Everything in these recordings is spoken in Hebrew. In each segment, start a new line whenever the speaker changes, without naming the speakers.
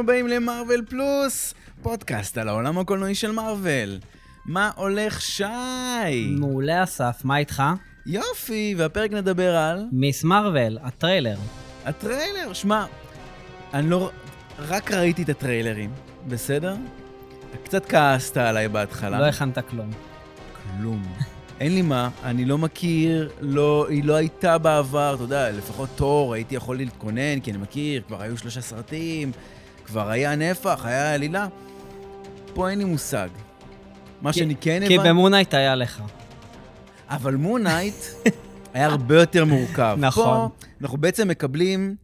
הבאים למרוויל פלוס, פודקאסט על העולם הקולנועי של מארוול. מה הולך, שי?
מעולה אסף, מה איתך?
יופי, והפרק נדבר על
מיס מרוויל, הטריילר.
הטריילר. שמע, אני לא... רק ראיתי את הטריילרים, בסדר? קצת כעסת עליי בהתחלה.
לא הכנת כלום.
כלום. אין לי מה, אני לא מכיר, לא, היא לא הייתה בעבר, אתה יודע, לפחות תור, הייתי יכול להתכונן, כי אני מכיר, כבר היו שלושה סרטים, כבר היה נפח, היה עלילה. פה אין לי מושג. מה
כי-
שאני כן
כי
הבנתי,
במונייט היה לך.
אבל מונייט היה הרבה יותר מורכב.
נכון.
פה אנחנו בעצם מקבלים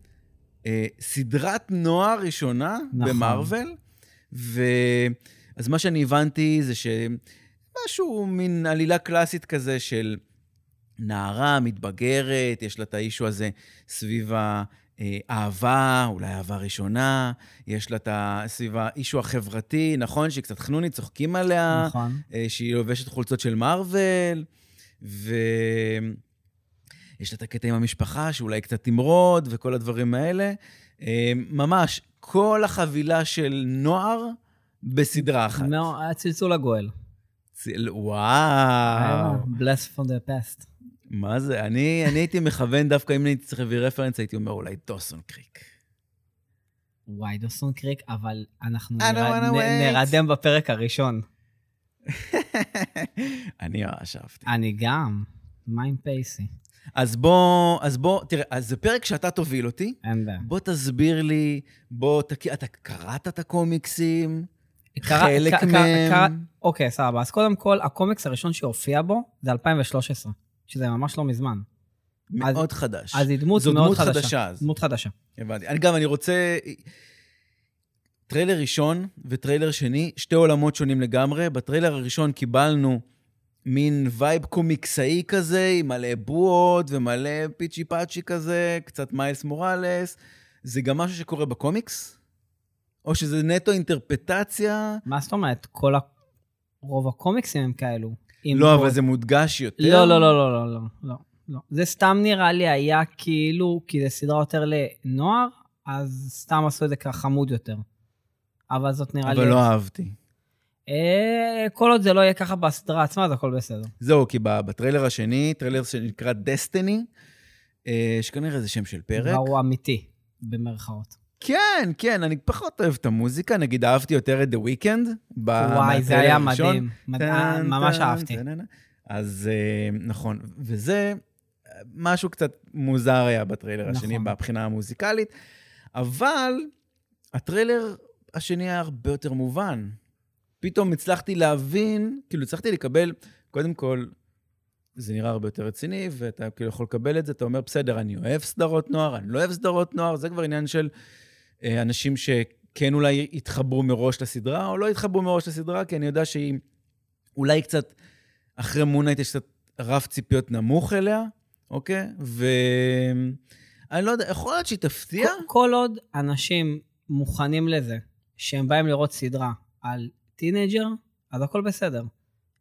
אה, סדרת נוער ראשונה
נכון.
במארוול, ו... אז מה שאני הבנתי זה שמשהו, מין עלילה קלאסית כזה של נערה מתבגרת, יש לה את האישו הזה סביב ה- אה, אהבה, אולי אהבה ראשונה, יש לה את ה... סביב האישו החברתי, נכון? שהיא קצת חנונית, צוחקים עליה.
נכון.
אה, שהיא לובשת חולצות של מארוול, ויש לה את הקטע עם המשפחה, שאולי קצת תמרוד, וכל הדברים האלה. אה, ממש, כל החבילה של נוער בסדרה אחת.
מאו- הצלצול הגואל.
צל-
אה.
וואו,
בלס פור דה פסט.
מה זה? אני, אני הייתי מכוון דווקא, אם הייתי צריך להביא רפרנס, הייתי אומר אולי דוסון קריק.
וואי, דוסון קריק, אבל אנחנו
I don't
נרד-
wanna
נ-
wait.
נרדם בפרק הראשון.
אני ממש אהבתי.
אני גם. מה עם פייסי?
אז בוא, אז בוא, תראה, אז זה פרק שאתה תוביל אותי.
אין בעיה.
בוא תסביר לי, בוא, תק... אתה קראת את הקומיקסים?
קרא-
חלק
ק- ק-
מהם.
קרא- אוקיי, סבבה. אז קודם כל, הקומיקס הראשון שהופיע בו זה 2013, שזה ממש לא מזמן. אז-
מאוד חדש.
אז היא דמות
זו
מאוד
דמות
חדשה.
חדשה אז.
דמות חדשה.
הבנתי. אני גם, אני רוצה... טריילר ראשון וטריילר שני, שתי עולמות שונים לגמרי. בטריילר הראשון קיבלנו מין וייב קומיקסאי כזה, עם מלא בועות ומלא פיצ'י פאצ'י כזה, קצת מיילס מוראלס. זה גם משהו שקורה בקומיקס? או שזה נטו אינטרפטציה?
מה זאת אומרת? כל ה... רוב הקומיקסים הם כאלו. עם
לא,
כל-
אבל זה מודגש יותר.
לא, לא, לא, לא, לא, לא, לא, לא. זה סתם נראה לי היה כאילו, כי זו סדרה יותר לנוער, אז סתם עשו את זה ככה חמוד יותר. אבל זאת נראה לי...
אבל לא אהבתי.
אה, כל עוד זה לא יהיה ככה בסדרה עצמה, אז הכל בסדר.
זהו, כי ב- בטריילר השני, טריילר שנקרא דסטיני, שכנראה זה שם של פרק.
הוא אמיתי, במרכאות.
כן, כן, אני פחות אוהב את המוזיקה, נגיד אהבתי יותר את The Weeknd. ב-
וואי, זה
אה, מהטריילר
היה
הראשון.
מדהים. מד- אה,
טן,
ממש
טן,
אהבתי.
טן, טן, טן. אז אה, נכון, וזה אה, משהו קצת מוזר היה בטריילר
נכון.
השני מבחינה המוזיקלית, אבל הטריילר השני היה הרבה יותר מובן. פתאום הצלחתי להבין, כאילו הצלחתי לקבל, קודם כל, זה נראה הרבה יותר רציני, ואתה כאילו יכול לקבל את זה, אתה אומר, בסדר, אני אוהב סדרות נוער, אני לא אוהב סדרות נוער, זה כבר עניין של אה, אנשים שכן אולי יתחברו מראש לסדרה, או לא יתחברו מראש לסדרה, כי אני יודע שהיא אולי קצת, אחרי מונייט יש קצת רף ציפיות נמוך אליה, אוקיי? ואני לא יודע, יכול להיות שהיא תפתיע?
כל- כל עוד אנשים מוכנים לזה, שהם באים לראות סדרה על טינג'ר, אז הכל בסדר.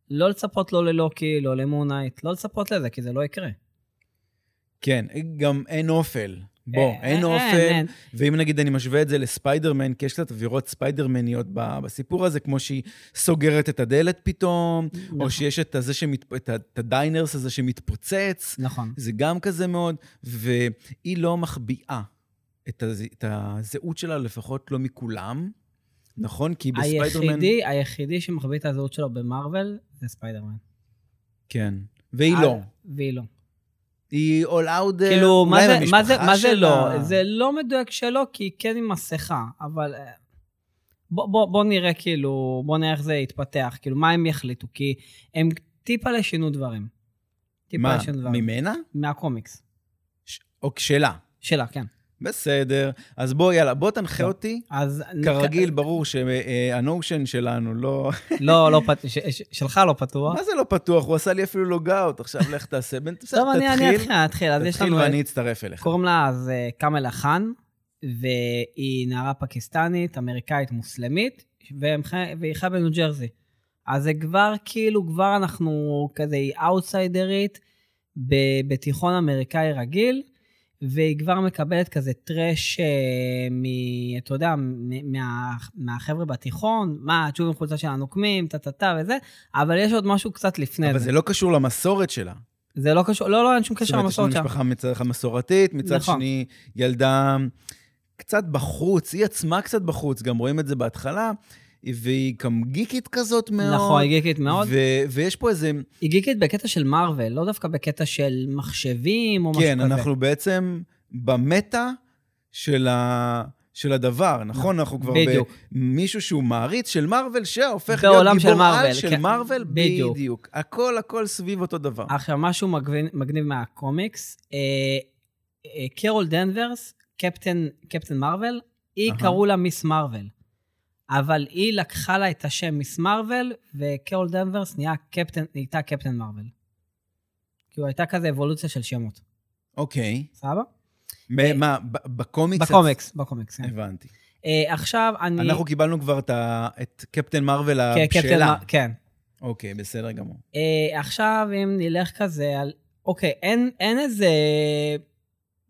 לא לצפות לא ללוקי, לא למונייט, לא לצפות לזה, כי זה לא יקרה.
כן, גם אין אופל. בוא,
אה,
אין אופל.
אין.
ואם נגיד אני משווה את זה לספיידרמן, כי יש קצת אווירות ספיידרמניות ב- בסיפור הזה, כמו שהיא סוגרת את הדלת פתאום,
נכון.
או שיש את, הזה שמת, את, ה- את הדיינרס הזה שמתפוצץ,
נכון.
זה גם כזה מאוד, והיא לא מחביאה את, הז, את הזהות שלה, לפחות לא מכולם, נכון? כי בספיידרמן...
היחידי, היחידי שמחביא את הזהות שלו במרוויל זה ספיידרמן.
כן. והיא לא.
אה, והיא לא.
היא all out, אה,
כאילו, מה
אולי
זה-
עם
מה זה-
המשפחה
מה זה לא?
שלה.
זה לא מדויק שלא, כי היא כן עם מסכה, אבל... אה, בוא- בוא בוא נראה כאילו, בוא נראה איך זה יתפתח, כאילו, מה הם יחליטו, כי הם טיפה לשינו דברים. טיפה
מה,
לשינו דברים.
ממנה?
מהקומיקס.
ש- או שלה.
שלה, כן.
בסדר. אז בוא, יאללה, בוא תנחה
לא.
אותי.
אז...
כרגיל, ברור שהנושן שלנו לא...
לא, לא פתוח, שלך לא פתוח.
מה זה לא פתוח? הוא עשה לי אפילו לוגאוט, עכשיו לך תעשה. בן- בסדר,
טוב, אני אני
תתחיל,
אתחיל, אתחיל. אז יש
תתחיל
לנו... את-
ואני אצטרף אליך.
קוראים לה אז אה, קאמלה חאן, והיא נערה פקיסטנית, אמריקאית, מוסלמית, והם חי- והיא חיה בניו ג'רזי. אז זה כבר כאילו, כבר אנחנו כזה, היא אאוטסיידרית ב- בתיכון אמריקאי רגיל, והיא כבר מקבלת כזה טרש אה, מ... אתה יודע, מ- מה, מהחבר'ה בתיכון, מה, את שוב עם חולצה של הנוקמים, טה-טה-טה וזה, אבל יש עוד משהו קצת לפני
אבל
זה.
זה לא קשור למסורת שלה.
זה לא קשור, לא, לא, אין שום קשר
זאת
למסורת שלה.
אומרת, יש לנו משפחה מצד אחד מסורתית, מצד
נכון.
שני, ילדה קצת בחוץ, היא עצמה קצת בחוץ, גם רואים את זה בהתחלה, והיא גם גיקית כזאת מאוד.
נכון, היא גיקית מאוד.
ו- ויש פה איזה...
היא גיקית בקטע של מארוול, לא דווקא בקטע של מחשבים או משהו כזה.
כן, אנחנו בעצם במטה של ה... של הדבר, נכון? אנחנו כבר
בדיוק.
במישהו שהוא מעריץ של מארוול, שהופך להיות
בעולם של
גיבור על
מארוול,
של
כן.
מארוול,
בדיוק. אה.
בדיוק. הכל, הכל סביב אותו דבר.
עכשיו, משהו מגניב, מגניב מהקומיקס, אה, אה, קרול דנברס, קפטן, קפטן מרוויל, היא
אהה.
קראו לה מיס מרוויל. אבל היא לקחה לה את השם מיס מרוויל, וקרול דנברס נהיה קפטן, נהייתה קפטן מרוויל. כאילו, הייתה כזה אבולוציה של שמות,
אוקיי.
סבבה?
מה- מה, ב- בקומיקס?
אה. בקומיקס, בקומיקס, כן.
הבנתי.
אה, עכשיו אני...
אנחנו קיבלנו כבר את ה- את קפטן מרוויל
כן, קפטן
הבשלה.
מר- כן.
אוקיי, בסדר גמור.
אה, עכשיו, אם נלך כזה על... אוקיי, אין, אין איזה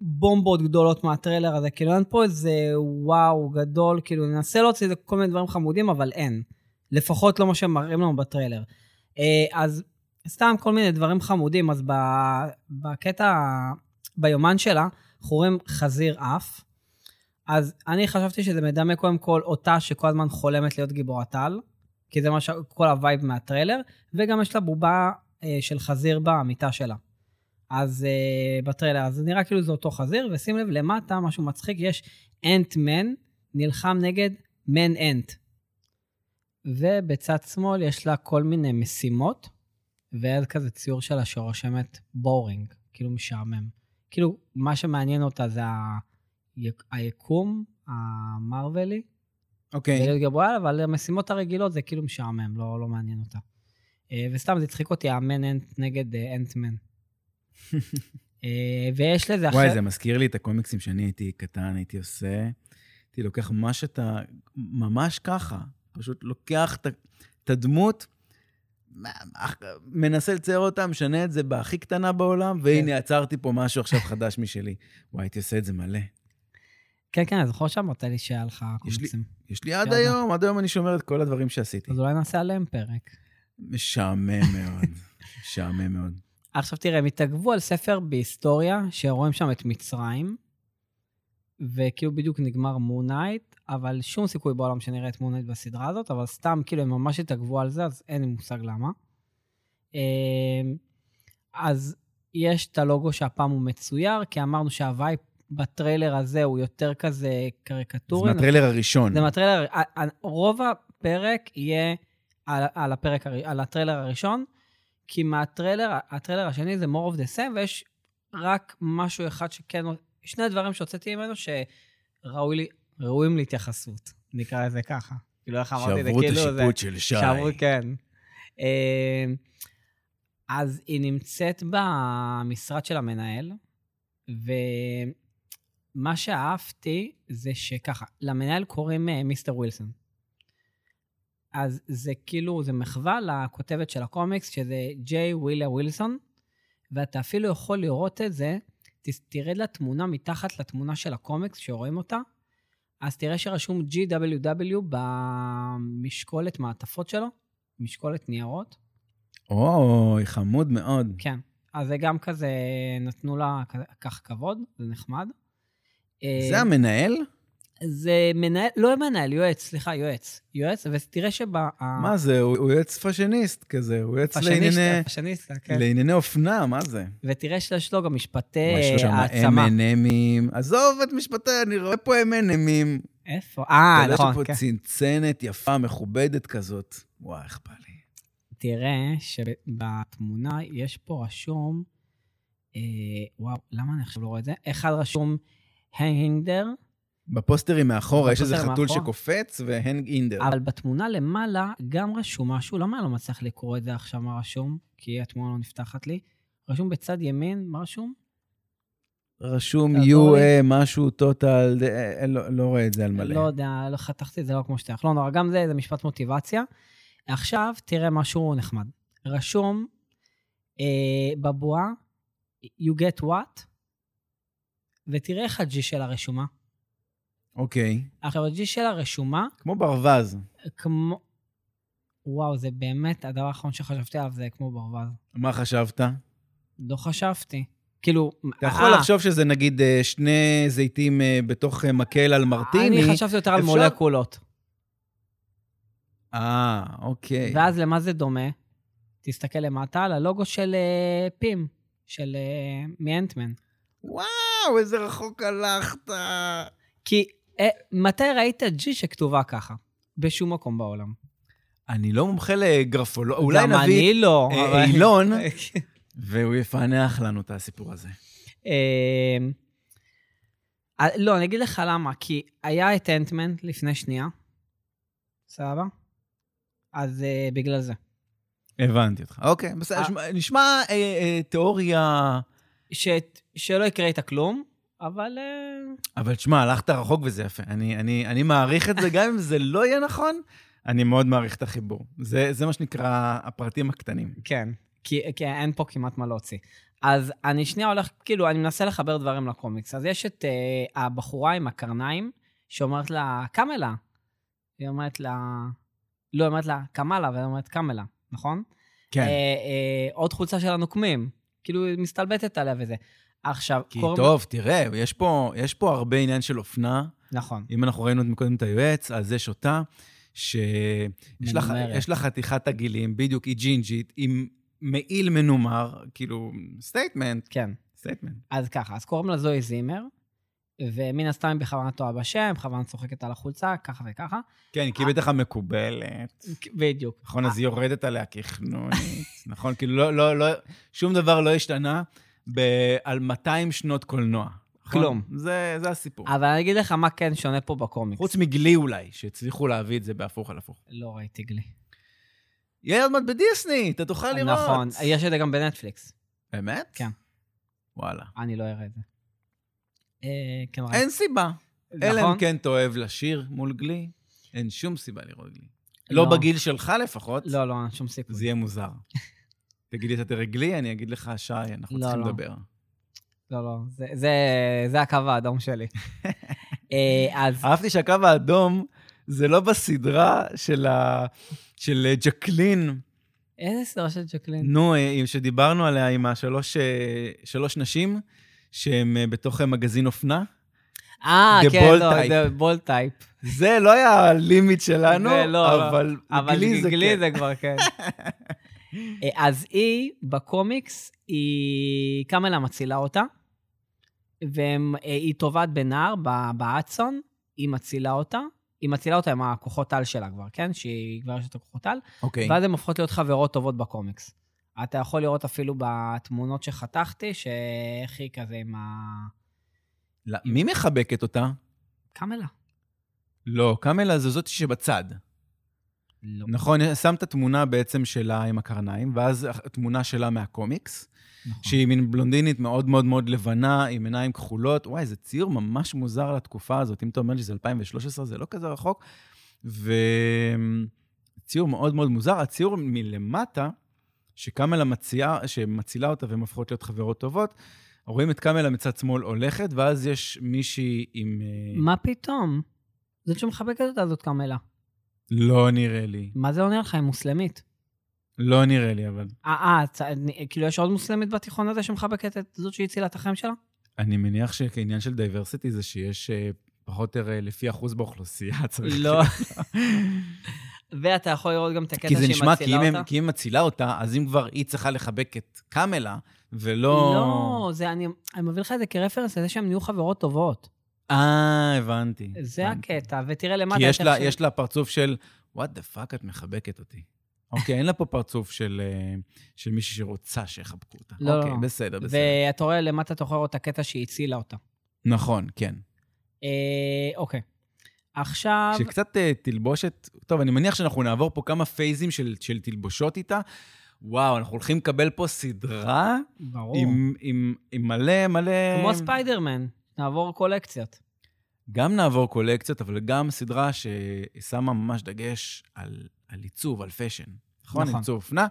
בומבות גדולות מהטריילר הזה, כאילו אין פה איזה וואו גדול, כאילו ננסה להוציא איזה כל מיני דברים חמודים, אבל אין. לפחות לא מה שהם מראים לנו בטריילר. אה, אז סתם כל מיני דברים חמודים, אז ב, בקטע, ביומן שלה, אנחנו רואים חזיר אף. אז אני חשבתי שזה מדמה קודם כל אותה שכל הזמן חולמת להיות גיבורת על, כי זה מה ש... כל הווייב מהטריילר. וגם יש לה בובה אה, של חזיר במיטה שלה. אז אה, בטריילר, אז זה נראה כאילו זה אותו חזיר, ושים לב למטה, משהו מצחיק, יש אנטמן נלחם נגד מן אנט. ובצד שמאל יש לה כל מיני משימות, ואז כזה ציור שלה שרושמת בורינג, כאילו משעמם. כאילו, מה שמעניין אותה זה ה... היקום המרווילי,
אוקיי.
ולהיות גבוהה, אבל המשימות הרגילות זה כאילו משעמם, לא, לא מעניין אותה. אה, וסתם זה הצחיק אותי, המן אנט נגד אה, אנטמן. אה, ויש לזה אחר...
וואי, זה מזכיר לי את הקומיקסים שאני הייתי קטן, הייתי עושה. הייתי לוקח מה שאתה, ממש ככה, פשוט לוקח את ה- את הדמות, אח- מנסה לצייר אותה, משנה את זה בהכי קטנה בעולם,
כן.
והנה, עצרתי פה משהו עכשיו חדש משלי. וואי, הייתי עושה את זה מלא.
כן, כן, אני זוכר שאמרת לי שהיה לך
יש לי-
קומיקסים.
יש לי עד
יאללה.
היום, עד היום אני שומר את כל הדברים שעשיתי.
אז אולי נעשה עליהם פרק.
משעמם מאוד, משעמם מאוד.
עכשיו תראה, הם התעכבו על ספר בהיסטוריה, שרואים שם את מצרים, וכאילו בדיוק נגמר מונייט, אבל שום סיכוי בעולם שנראה את מונייט בסדרה הזאת, אבל סתם כאילו הם ממש התעכבו על זה, אז אין לי מושג למה. אמ, אז יש את הלוגו שהפעם הוא מצויר, כי אמרנו שהווייב בטריילר הזה הוא יותר כזה
זה
קריקטורי.
מהטריילר הראשון.
זה מהטריילר, ה- ה- רוב הפרק יהיה על, על, הפרק, הר- על הטריילר הראשון, כי מהטריילר, הטריילר השני זה more of the same, ויש רק משהו אחד שכן, שני דברים שהוצאתי ממנו שראוי לי, ראויים להתייחסות, נקרא לזה ככה. כאילו, איך אמרתי את זה,
שעברו את
כאילו זה...
השיפוט של שי.
שעברו, כן. אה, אז היא נמצאת במשרד של המנהל, ומה שאהבתי זה שככה, למנהל קוראים אה, מיסטר ווילסון. אז זה כאילו, זה מחווה לכותבת של הקומיקס, שזה ג'יי ווילר ווילסון, ואתה אפילו יכול לראות את זה, ת- תרד לתמונה מתחת לתמונה של הקומיקס, שרואים אותה, אז תראה שרשום GWW במשקולת מעטפות שלו, משקולת ניירות.
אוי, חמוד מאוד.
כן. אז זה גם כזה, נתנו לה כ- כך כבוד, זה נחמד.
זה
אה,
המנהל?
זה מנהל, לא מנהל, יועץ, סליחה, יועץ. יועץ, ותראה שבה...
מה זה, הוא הוא יועץ פאשיניסט כזה, הוא יועץ לענייני-
פשניסט, כן.
לענייני אופנה, מה זה?
ותראה שיש לו גם משפטי
וואי, יש לו שם
העצמה.
M&M'ים. עזוב את משפטי, אני רואה פה M&M'ים.
איפה? אה, נכון,
אתה יודע
כן.
שפה צנצנת יפה, מכובדת כזאת. וואי, איך בא לי.
תראה שבתמונה יש פה רשום, אה, וואו, למה אני עכשיו לא רואה את זה? אחד רשום הנגדר,
בפוסטרים מאחורה, יש איזה
בפוסטרים
חתול
מאחורה? אה,
שקופץ והנג אינדר.
אבל בתמונה למעלה גם רשום משהו, למה אני לא מצליח לקרוא את זה עכשיו מה רשום? כי התמונה לא נפתחת לי. רשום בצד ימין, מה רשום?
רשום
תעזור לי.
UA, משהו טוטל, אה, אה, לא לא רואה את זה על
לא
מלא.
יודע, לא חתכתי את זה לא כמו שצריך. לא נורא, גם זה, זה משפט מוטיבציה. עכשיו תראה משהו נחמד. רשום אה, בבועה, you get what, ותראה איך הג'י שלה רשומה.
אוקיי.
עכשיו, הג'י שלה רשומה
כמו ברווז.
כמו... וואו, זה באמת, הדבר האחרון שחשבתי עליו זה כמו ברווז.
מה חשבת?
לא חשבתי. כאילו,
אתה יכול
אה,
לחשוב שזה נגיד אה, שני זיתים אה, בתוך אה, מקל על מרטיני.
אני חשבתי יותר על
אפשר-
מולקולות.
אה, אוקיי.
ואז למה זה דומה? תסתכל למטה על הלוגו של אה, פים, של אה, מאנטמן.
וואו, איזה רחוק הלכת.
כי אה, מתי ראית ג'י שכתובה ככה? בשום מקום בעולם.
אני לא מומחה לגרפולוג, אולי
גם
נביא
אני לא.
אה,
אבל-
אילון, אוקיי. והוא יפענח לנו את הסיפור הזה.
אמ, אה, לא, אני אגיד לך למה, כי היה את אנטמן לפני שנייה, סבבה? אז אה, בגלל זה.
הבנתי אותך. אוקיי, בסדר,
אה.
שמע- נשמע אה, אה, תיאוריה...
ש... שלא יקרה איתה כלום, אבל... אה,
אבל תשמע, הלכת רחוק וזה יפה. אני, אני, אני מעריך את זה, גם אם זה לא יהיה נכון, אני מאוד מעריך את החיבור. זה, זה מה שנקרא הפרטים הקטנים.
כן, כי, כי אין פה כמעט מה להוציא. אז אני שנייה הולך, כאילו, אני מנסה לחבר דברים לקומיקס. אז יש את אה, הבחורה עם הקרניים, שאומרת לה, קמלה. היא אומרת לה... לא, היא אומרת לה, קמלה, והיא אומרת קמלה, נכון? אה,
כן.
אה, עוד חולצה של הנוקמים. כאילו, היא מסתלבטת עליה וזה. עכשיו,
כי
קוראים-
טוב, תראה, יש פה, יש פה הרבה עניין של אופנה.
נכון.
אם אנחנו ראינו קודם את היועץ, אז יש אותה, שיש לה,
מנומרת.
יש לה חתיכת עגילים, בדיוק, היא ג'ינג'ית, עם מעיל מנומר, כאילו, סטייטמנט,
כן.
סטייטמנט.
אז ככה, אז קוראים לה זוהי זימר, ומן הסתם היא בכוונה טועה בשם, בכוונה צוחקת על החולצה, ככה וככה.
כן, כי היא בטח המקובלת.
בדיוק.
נכון, אז היא יורדת עליה כחנונית, נכון? כאילו, לא, לא, לא, שום דבר לא השתנה ב- על 200 שנות קולנוע. נכון?
כלום.
זה, זה הסיפור.
אבל אני אגיד לך מה כן שונה פה בקומיקס.
חוץ מגלי אולי, שהצליחו להביא את זה בהפוך על הפוך.
לא ראיתי גלי.
יהיה עוד מעט בדיסני, אתה תוכל לראות.
נכון, יש את זה גם בנטפליקס.
באמת?
כן.
וואלה.
אני לא אראה את זה. אה, כן, ראיתי.
אין סיבה. אלא
נכון?
אם כן תאהב לשיר מול גלי, אין שום סיבה לראות גלי.
לא.
לא בגיל שלך לפחות,
לא, לא, אין שום סיכוי.
זה יהיה מוזר. תגיד לי, אתה תראה גלי, אני אגיד לך, שי, אנחנו
לא,
צריכים
לא.
לדבר.
לא, לא, זה- זה- זה הקו האדום שלי. אה, אז
אהבתי שהקו האדום זה לא בסדרה של ה- של אה, ג'קלין,
איזה סדרה של ג'קלין?
נו, אה, עם- שדיברנו עליה עם השלוש אה, שלוש נשים, שהן אה, בתוך אה, מגזין אופנה.
אה,
The
כן,
Bold
לא,
Type.
זה בול טייפ.
זה לא היה הלימיט שלנו,
זה לא, לא.
אבל
אבל
גלי זה
גלי
כן.
זה כבר כן. אה, אז היא, בקומיקס, היא... קמלה מצילה אותה, והיא טובעת בנהר, ב- באדסון, היא מצילה אותה. היא מצילה אותה עם הכוחות על שלה כבר, כן? שהיא כבר יש את הכוחות על.
אוקיי.
ואז הן הופכות להיות חברות טובות בקומיקס. אתה יכול לראות אפילו בתמונות שחתכתי, שאיך היא כזה עם ה...
לא, מי מחבקת אותה?
קמלה.
לא, קמלה זו זאת שבצד.
לא.
נכון, שמת תמונה בעצם שלה עם הקרניים, ואז תמונה שלה מהקומיקס,
נכון.
שהיא מין בלונדינית מאוד מאוד מאוד לבנה, עם עיניים כחולות. וואי, זה ציור ממש מוזר לתקופה הזאת. אם אתה אומר לי שזה 2013, זה לא כזה רחוק. וציור מאוד מאוד מוזר. הציור מלמטה, שקמלה מציעה, שמצילה אותה והן הופכות להיות חברות טובות, רואים את קמלה מצד שמאל הולכת, ואז יש מישהי עם... אה,
מה פתאום? זאת שמחבקת אותה זאת קמלה.
לא נראה לי.
מה זה עונה לך? היא מוסלמית.
לא נראה לי, אבל...
אה, אה, צ- אני- כאילו יש עוד מוסלמית בתיכון הזה שמחבקת את זאת שהצילה את החיים שלה?
אני מניח שכעניין של דייברסיטי זה שיש אה, פחות או יותר אה, לפי אחוז באוכלוסייה, צריך...
לא. ואתה יכול לראות גם את הקטע
כי זה
שהיא
נשמע, כי
מצילה
אם
אותה.
הם- כי אם היא מצילה אותה, אז אם כבר היא צריכה לחבק את קמלה, ולא...
לא, זה אני, אני מביא לך את זה כרפרנס לזה שהן נהיו חברות טובות.
אה, הבנתי.
זה
הבנתי.
הקטע, ותראה למטה...
כי יש
את
לה,
איך ש-
יש לה פרצוף של, what the fuck, את מחבקת אותי. אוקיי, אין לה פה פרצוף של, אה, של מישהי שרוצה שיחבקו אותה.
לא, לא,
אוקיי,
לא.
בסדר, בסדר.
ואתה רואה למטה, אתה יכול לראות את הקטע שהיא הצילה אותה.
נכון, כן.
אה, אוקיי. עכשיו...
שקצת אה, תלבושת, טוב, אני מניח שאנחנו נעבור פה כמה פייזים של, של תלבושות איתה. וואו, אנחנו הולכים לקבל פה סדרה
ברור.
עם, עם, עם מלא מלא...
כמו ספיידרמן, נעבור קולקציות.
גם נעבור קולקציות, אבל גם סדרה ששמה ממש דגש על, על עיצוב, על פאשן. נכון?
נכון.
נכון. עיצוב אופנה.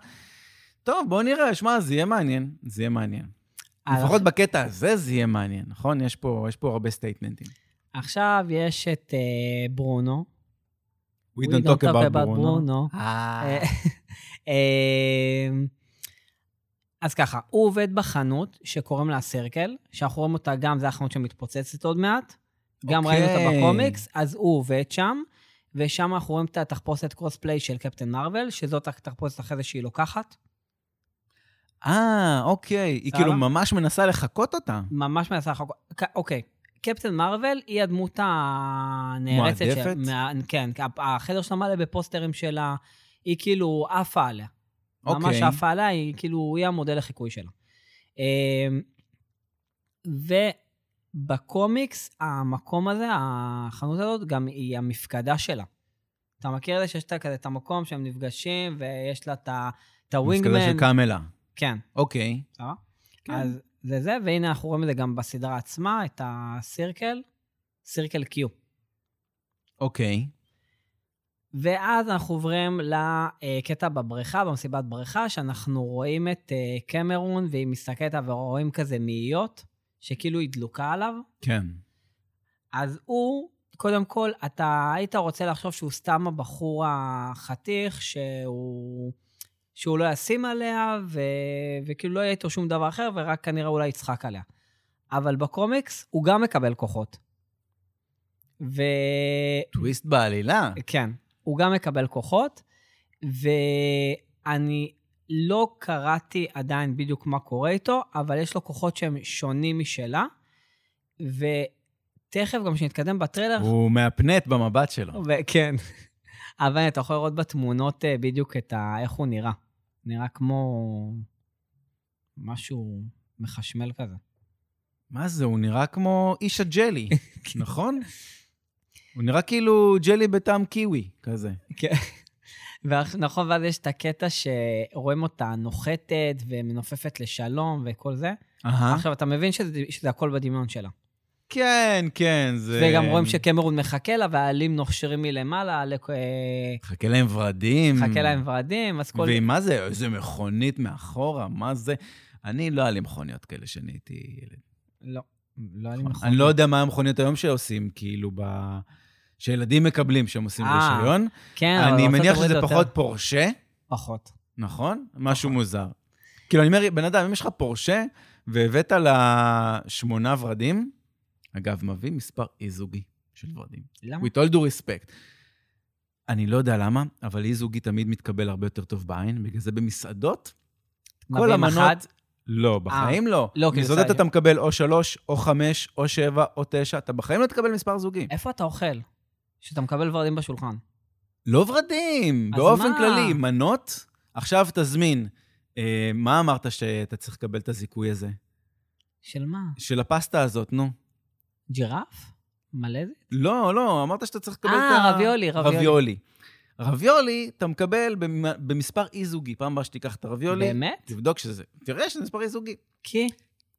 טוב, בואו נראה, שמע, זה יהיה מעניין. זה יהיה מעניין. לפחות בקטע הזה זה יהיה מעניין, נכון? יש פה, יש פה הרבה סטייטמנטים.
עכשיו יש את אה, ברונו.
We don't talk about ברונו.
אה,
אה,
אה, אז ככה, הוא עובד בחנות שקוראים לה סירקל, שאנחנו רואים אותה גם, זו החנות שמתפוצצת עוד מעט. גם ראינו אותה
אוקיי.
בקומיקס, אז הוא עובד שם, ושם אנחנו רואים את התחפושת קרוספליי של קפטן מרוויל, שזאת התחפושת אחרי זה שהיא לוקחת.
אה, אוקיי. היא
סבבה?
כאילו ממש מנסה לחקות אותה.
ממש מנסה לחכות. אוקיי, קפטן מרוויל היא הדמות הנערצת.
מועדפת?
של- מה- כן, כי החדר שלה מלא בפוסטרים שלה, היא כאילו עפה עליה. ממש
אוקיי.
עפה עליה, היא כאילו, היא המודל לחיקוי שלה. אמ, ובקומיקס, המקום הזה, החנות הזאת, גם היא המפקדה שלה. אתה מכיר את זה שיש את כזה את המקום שהם נפגשים, ויש לה את ה- את
מפקדה
הווינגמן.
של קאמלה.
כן.
אוקיי.
סבבה?
כן.
אז זה זה, והנה אנחנו רואים את זה גם בסדרה עצמה, את הסירקל, סירקל קיו.
אוקיי.
ואז אנחנו עוברים לקטע בבריכה, במסיבת בריכה, שאנחנו רואים את אה, קמרון, והיא מסתכלת עליו ורואים כזה מאיות, שכאילו היא דלוקה עליו.
כן.
אז הוא, קודם כל, אתה היית רוצה לחשוב שהוא סתם הבחור החתיך, שהוא, שהוא לא ישים עליה, ו, וכאילו לא יהיה איתו שום דבר אחר, ורק כנראה אולי יצחק עליה. אבל בקומיקס הוא גם מקבל כוחות. ו...
טוויסט בעלילה.
כן, הוא גם מקבל כוחות, ואני לא קראתי עדיין בדיוק מה קורה איתו, אבל יש לו כוחות שהם שונים משלה, ותכף גם כשנתקדם בטריילר,
הוא מהפנט במבט שלו.
ו- כן. אבל אתה יכול לראות בתמונות אה, בדיוק את ה... איך הוא נראה. נראה כמו משהו מחשמל כזה.
מה זה, הוא נראה כמו איש הג'לי, נכון? הוא נראה כאילו ג'לי בטעם קיווי כזה.
כן. ואח- נכון, ואז יש את הקטע שרואים אותה נוחתת ומנופפת לשלום וכל זה.
אהה.
עכשיו, אתה מבין שזה, שזה הכל בדמיון שלה.
כן, כן, זה...
וגם רואים שקמרון מחכה לה, והעלים נושרים מלמעלה, לק- אה,
חכה להם ורדים.
מחכה להם ורדים, אז כל...
ועם מה זה? איזה מכונית מאחורה, מה זה? אני לא היה לי מכוניות כאלה כשאני הייתי ילד.
לא, לא היה לי נכון.
אני לא יודע מה המכוניות היום שעושים, כאילו, ב... שילדים מקבלים כשהם עושים
אה,
רישיון.
כן, אבל
אני
בארצות
מניח
הברית
שזה
יותר-
פחות פורשה,
פחות.
נכון? משהו מוזר. כאילו, אני אומר, בן אדם, אם יש לך פורשה והבאת לה שמונה ורדים, אגב, מביא מספר אי-זוגי של ורדים.
למה?
With all due respect. אני לא יודע למה, אבל אי-זוגי תמיד מתקבל הרבה יותר טוב בעין, בגלל זה במסעדות, כל
מביאים אחד?
המנות... לא, בחיים לא.
לא, כאילו,
מסעדות
סליחה.
אתה מקבל או שלוש, או חמש, או שבע, או תשע, אתה בחיים לא תקבל מספר זוגי.
איפה אתה אוכל? שאתה מקבל ורדים בשולחן.
לא ורדים,
אז
באופן
מה?
כללי, מנות. עכשיו תזמין. אה, מה אמרת שאתה צריך לקבל את הזיכוי הזה?
של מה?
של הפסטה הזאת, נו.
ג'ירף? מלא זה?
לא, לא, אמרת שאתה צריך לקבל את ה...
אה, רביולי, רביולי.
רביולי. רביולי, אתה מקבל במ- במספר אי-זוגי. פעם הבאה שתיקח את הרביולי,
באמת?
תבדוק שזה, תראה שזה מספר אי-זוגי.
כי?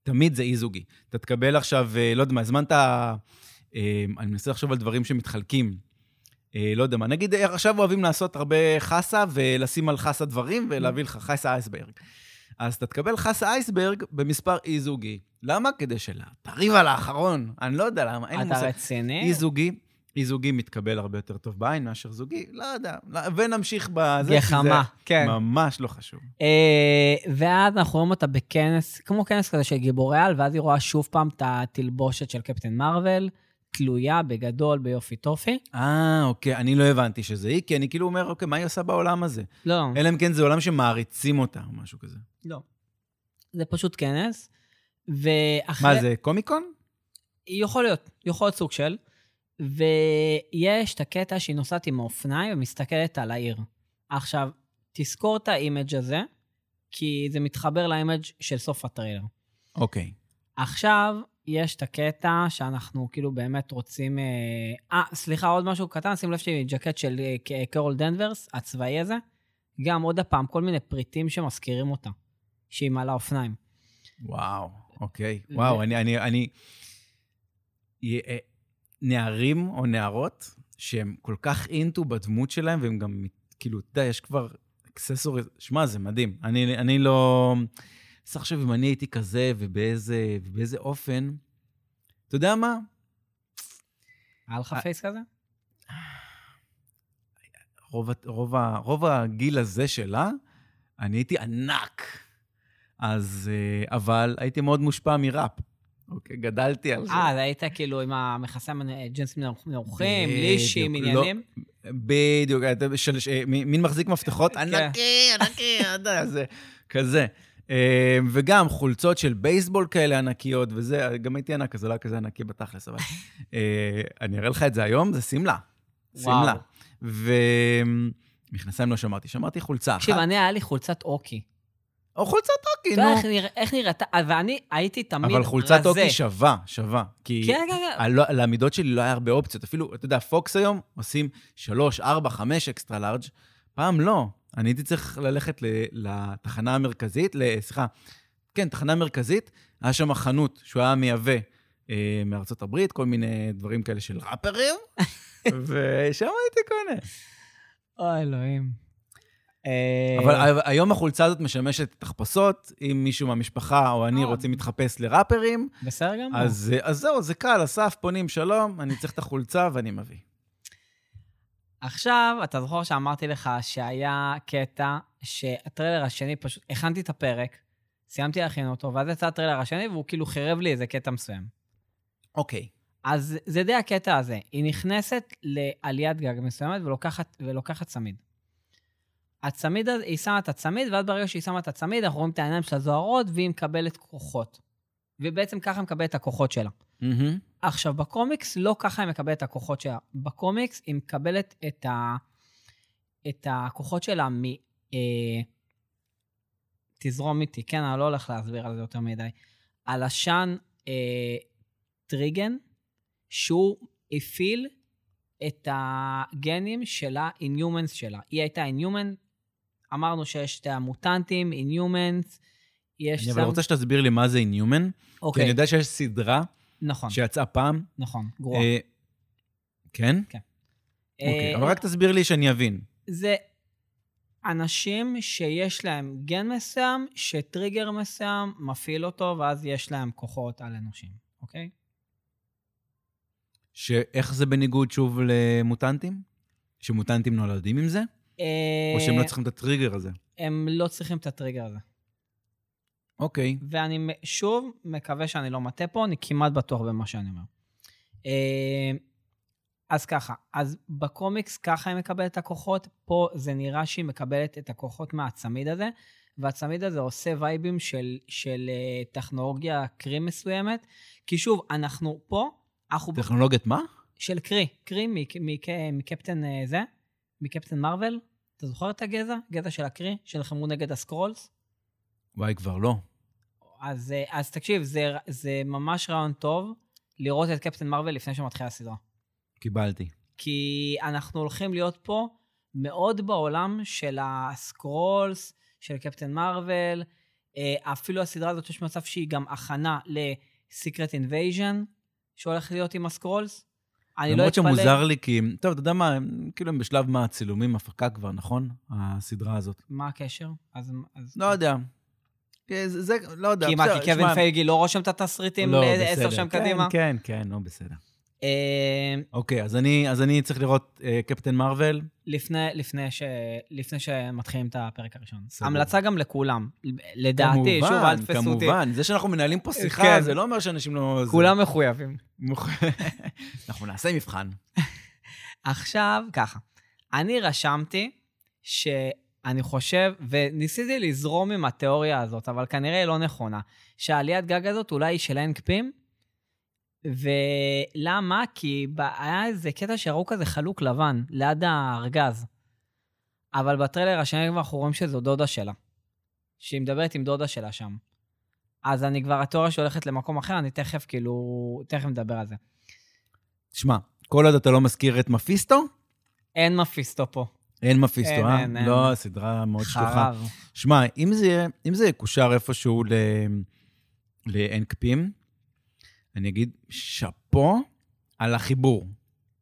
תמיד זה אי-זוגי. אתה תקבל עכשיו, אה, לא יודע מה, הזמנת... אה, אני מנסה לחשוב על דברים שמתחלקים. אה, לא יודע מה, נגיד אה, עכשיו אוהבים לעשות הרבה חסה ולשים על חסה דברים ולהביא לך חסה אייסברג. אז אתה תקבל חסה אייסברג במספר אי-זוגי. למה? כדי שלה. תריב על האחרון. אני לא יודע למה, אין לי
אתה
מושג.
רציני?
אי-זוגי, אי-זוגי מתקבל הרבה יותר טוב בעין מאשר זוגי, לא יודע. לא- ונמשיך בזה. כי
גחמה,
זה
כן.
ממש לא חשוב.
אה, ואז אנחנו רואים אותה בכנס, כמו כנס כזה של גיבורי על, ואז היא רואה שוב פעם את התלבושת של קפטן מרוויל, תלויה בגדול ביופי טופי.
אה, אוקיי, אני לא הבנתי שזה היא, כי אני כאילו אומר, אוקיי, מה היא עושה בעולם הזה?
לא,
אלא אם כן זה עולם שמעריצים אותה או משהו כזה.
לא. זה פשוט כנס, ואחרי...
מה זה, קומיקון?
יכול להיות, יכול להיות סוג של. ויש את הקטע שהיא נוסעת עם האופניים ומסתכלת על העיר. עכשיו, תזכור את האימג' הזה, כי זה מתחבר לאימג' של סוף הטריילר.
אוקיי.
עכשיו, יש את הקטע שאנחנו כאילו באמת רוצים... אה, אה, סליחה, עוד משהו קטן, שים לב שלי ג'קט של אה, ק- קרול דנברס, הצבאי הזה. גם עוד הפעם, כל מיני פריטים שמזכירים אותה, שהיא מעלה אופניים.
וואו, אוקיי.
ו-
וואו, אני, אני, אני... י- אה, נערים או נערות שהם כל כך אינטו בדמות שלהם, והם גם, כאילו, אתה יודע, יש כבר אקססוריז... שמע, זה מדהים. אני, אני לא... צריך לחשוב אם אני הייתי כזה ובאיזה, ובאיזה אופן. אתה יודע מה?
היה לך
אה,
פייס כזה?
רוב, ה- רוב, ה- רוב הגיל הזה שלה, אני הייתי ענק. אז, אה, אבל הייתי מאוד מושפע מראפ. אוקיי, גדלתי על זה.
אה, אז היית כאילו עם המכסים ג'ינסים נרוחים,
בדיוק,
לישים,
לא.
עניינים?
בדיוק, אה, אתה של- ש- מ- מין מחזיק מפתחות,
כן.
ענקי, ענקי, אתה יודע, זה כזה. אה, וגם חולצות של בייסבול כאלה ענקיות וזה, גם הייתי ענק, אז זה לא היה כזה ענקי בתכלס, אבל... אה, אני אראה לך את זה היום, זה שמלה.
וואו.
שמלה. ומכנסיים לא שמרתי, שמרתי חולצה אחת.
תקשיב, אני, היה לי חולצת אוקי.
או חולצת
אתה
אוקי,
יודע
נו.
איך נרא- איך נראית? אה, ואני הייתי תמיד רזה.
אבל חולצת אוקי שווה, שווה. כי
כן, כן, כן.
הלא- למידות שלי לא היה הרבה אופציות. אפילו, אתה יודע, פוקס היום עושים 3, 4, 5 אקסטרה לארג', פעם לא. אני הייתי צריך ללכת ל- לתחנה המרכזית, ל- סליחה, כן, תחנה מרכזית, היה שם חנות שהוא היה מייבא אה, מארצות הברית, כל מיני דברים כאלה של ראפרים, ושם הייתי קונה.
אוי, אלוהים. אה,
אבל ה- היום החולצה הזאת משמשת תחפושות, אם מישהו מהמשפחה או אני
אה.
רוצים להתחפש לראפרים,
בסדר גמור.
אז, אה, אז זהו, זה קל, אסף, פונים, שלום, אני צריך את החולצה ואני מביא.
עכשיו, אתה זוכר שאמרתי לך שהיה קטע שהטריילר השני, פשוט הכנתי את הפרק, סיימתי להכין אותו, ואז יצא הטריילר השני, והוא כאילו חירב לי איזה קטע מסוים.
אוקיי.
אז זה די הקטע הזה. היא נכנסת לעליית גג מסוימת ולוקחת, ולוקחת צמיד. הצמיד הזה, היא שמה את הצמיד, ואז ברגע שהיא שמה את הצמיד, אנחנו רואים את העיניים שלה זוהרות, והיא מקבלת כוחות. ובעצם ככה היא מקבלת את הכוחות שלה. עכשיו, בקומיקס לא ככה היא מקבלת את הכוחות שלה. בקומיקס היא מקבלת את, ה... את הכוחות שלה מ... אה... תזרום איתי, כן, אני לא הולך להסביר על זה יותר מדי. על עשן אה... טריגן, שהוא הפעיל את הגנים של ה-Inhumans שלה. היא הייתה Inhuman, אמרנו שיש את המוטנטים, Inhumans, יש...
אני אבל רוצה שתסביר לי מה זה אינהומן, כי
אוקיי,
אני יודע שיש סדרה
נכון,
שיצאה פעם.
נכון, גרוע.
אה, כן?
אה,
אוקיי, אבל רק תסביר לי שאני אבין.
זה אנשים שיש להם גן מסוים, שטריגר מסוים מפעיל אותו, ואז יש להם כוחות על אנושים, אוקיי?
שאיך זה בניגוד שוב למוטנטים? שמוטנטים נולדים עם זה? או שהם
אה,
לא צריכים את הטריגר הזה?
הם לא צריכים את הטריגר הזה.
אוקיי.
ואני מ- שוב מקווה שאני לא מטעה פה, אני כמעט בטוח במה שאני אומר. אה, אז ככה, אז בקומיקס ככה היא מקבלת את הכוחות, פה זה נראה שהיא מקבלת את הכוחות מהצמיד הזה, והצמיד הזה עושה וייבים של, של אה, טכנולוגיה קרי מסוימת, כי שוב, אנחנו פה, אנחנו...
טכנולוגיית מה?
של קרי, קרי מק- מק- מקפטן אה, זה, מקפטן מרוויל, אתה זוכר את הגזע? גזע של הקרי, שנלחמו נגד הסקרולס?
וואי, כבר לא.
אז, אה, אז תקשיב, זה, זה ממש רעיון טוב לראות את קפטן מרוויל לפני שמתחילה הסדרה.
קיבלתי.
כי אנחנו הולכים להיות פה מאוד בעולם של הסקרולס, של קפטן מרוויל, אה, אפילו הסדרה הזאת יש מצב שהיא גם הכנה לסיקרט אינבייז'ן, שהולך להיות עם הסקרולס. אני לא
למרות
אתפלא...
שמוזר לי, כי... הם- טוב, אתה יודע מה, הם כאילו הם בשלב מה, הצילומים, הפקה כבר, נכון? הסדרה הזאת.
מה הקשר? אז... אז...
לא יודע. כן, זה, זה- לא יודע.
כי מה,
בסדר,
כי קווין
שמע,
פייגי לא רושם את התסריטים
לא,
לעשר
בסדר.
שנים
כן,
קדימה?
כן, כן, נו, בסדר.
אה,
אוקיי, אז אני, אז אני צריך לראות אה, קפטן מרוויל.
לפני, לפני, ש... לפני שמתחילים את הפרק הראשון.
סבבה.
המלצה גם לכולם. לדעתי, שוב, אל תפסו אותי.
כמובן. זה שאנחנו מנהלים פה שיחה,
כן.
זה לא אומר שאנשים לא... זה-
כולם מחויבים.
אנחנו נעשה מבחן.
עכשיו, ככה. אני רשמתי שאני חושב, וניסיתי לזרום עם התיאוריה הזאת, אבל כנראה היא לא נכונה, שהעליית גג הזאת אולי היא של NKPים, ולמה? כי ב- היה איזה קטע שראו כזה חלוק לבן, ליד הארגז. אבל בטריילר השני כבר אנחנו רואים שזו דודה שלה. שהיא מדברת עם דודה שלה שם. אז אני כבר, התיאוריה שהולכת למקום אחר, אני תכף כאילו, תכף נדבר על זה.
שמע, כל עוד אתה לא מזכיר את מפיסטו,
אין מפיסטו פה.
אין מפיסטו,
אין,
אה?
אין, אין.
לא, סדרה מאוד שטוחה.
חרב.
שמע, אם זה, יהיה- אם זה יקושר איפשהו ל... לאנקפים, אני אגיד שאפו על החיבור,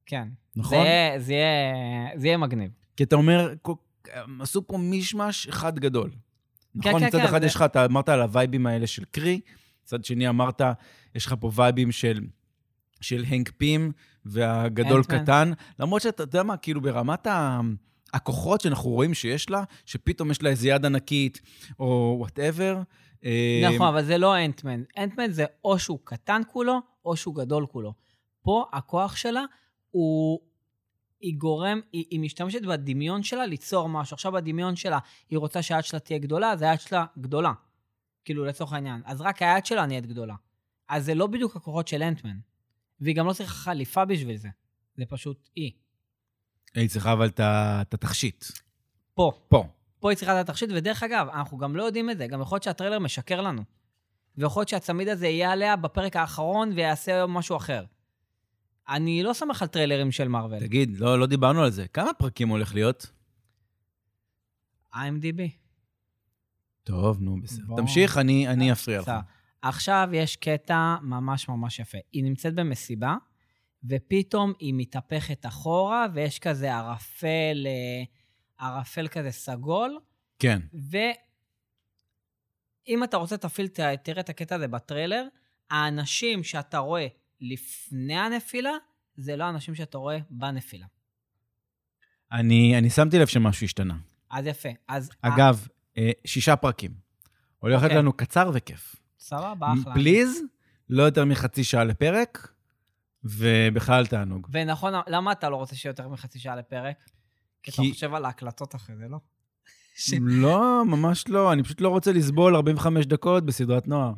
כן.
נכון?
זה, יהיה- זה, יהיה, זה יהיה מגניב.
כי אתה אומר, "כל- הם עשו פה מישמש אחד גדול. נכון?
כן,
מצד
כן,
אחד
זה-
יש לך, אתה אמרת על הווייבים האלה של קרי, מצד שני אמרת, יש לך פה וייבים של... של הנק פים והגדול
אנטמן.
קטן, למרות שאתה יודע מה, כאילו ברמת ה... הכוחות שאנחנו רואים שיש לה, שפתאום יש לה איזה יד ענקית, או וואטאבר. אה,
נכון, אבל זה לא אנטמן. אנטמן זה או שהוא קטן כולו, או שהוא גדול כולו. פה הכוח שלה הוא... היא גורם, היא, היא משתמשת בדמיון שלה ליצור משהו. עכשיו בדמיון שלה, היא רוצה שהיד שלה תהיה גדולה, אז היד שלה גדולה. כאילו, לצורך העניין. אז רק היד שלה נהיית גדולה. אז זה לא בדיוק הכוחות של אנטמן. והיא גם לא צריכה חליפה בשביל זה. זה פשוט היא.
היא צריכה אבל את ה- את התכשיט.
פה.
פה.
פה היא צריכה את התכשיט, ודרך אגב, אנחנו גם לא יודעים את זה, גם יכול להיות שהטריילר משקר לנו. ויכול להיות שהצמיד הזה יהיה עליה בפרק האחרון ויעשה משהו אחר. אני לא סומך על טריילרים של מארוול.
תגיד, לא, לא דיברנו על זה. כמה פרקים הולך להיות?
IMDb.
טוב, נו, בסדר.
בוא. אה,
תמשיך, אני, אני אפריע לך.
בסדר. עכשיו יש קטע ממש ממש יפה. היא נמצאת במסיבה, ופתאום היא מתהפכת אחורה, ויש כזה ערפל, אה, ערפל כזה סגול,
כן.
ואם אתה רוצה, תפעיל, ת- תראה את הקטע הזה בטריילר. האנשים שאתה רואה לפני הנפילה, זה לא האנשים שאתה רואה בנפילה.
אני, אני שמתי לב שמשהו השתנה.
אז יפה. אז...
אגב, אה, שישה פרקים. הולך להיות
אוקיי.
לנו קצר וכיף.
אה, סבבה, אחלה.
פליז, לא יותר מחצי שעה לפרק, ובכלל תענוג.
ונכון, למה אתה לא רוצה שיהיה יותר מחצי שעה לפרק? כי אתה
כי-
חושב על ההקלטות אחרי זה, לא? ש-
לא, ממש לא, אני פשוט לא רוצה לסבול 45 דקות בסדרת נוער.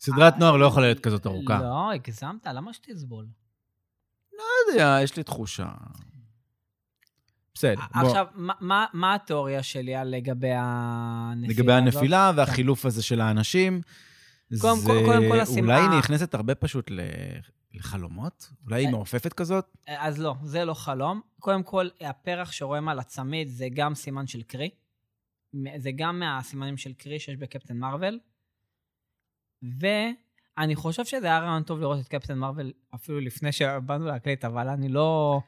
סדרת
אה,
נוער לא יכולה להיות כזאת ארוכה. לא
לא, הגזמת, למה שתסבול?
יודע, יש לי תחושה. בסדר, בוא.
עכשיו, מה- מה- מה התיאוריה שלי על לגבי הנפילה הזאת?
לגבי הנפילה והחילוף הזה של האנשים, זה
קודם כל- קודם כל השמחה-
אולי היא נכנסת הרבה פשוט ל- לחלומות? אולי היא
אה.
מעופפת כזאת?
אז לא, זה לא חלום. קודם כל, הפרח שרואים על הצמיד זה גם סימן של קרי. מ- זה גם מהסימנים של קרי שיש בקפטן מרוויל. ואני חושב שזה היה רעיון טוב לראות את קפטן מרוויל אפילו לפני שבאנו להקליט, אבל אני לא...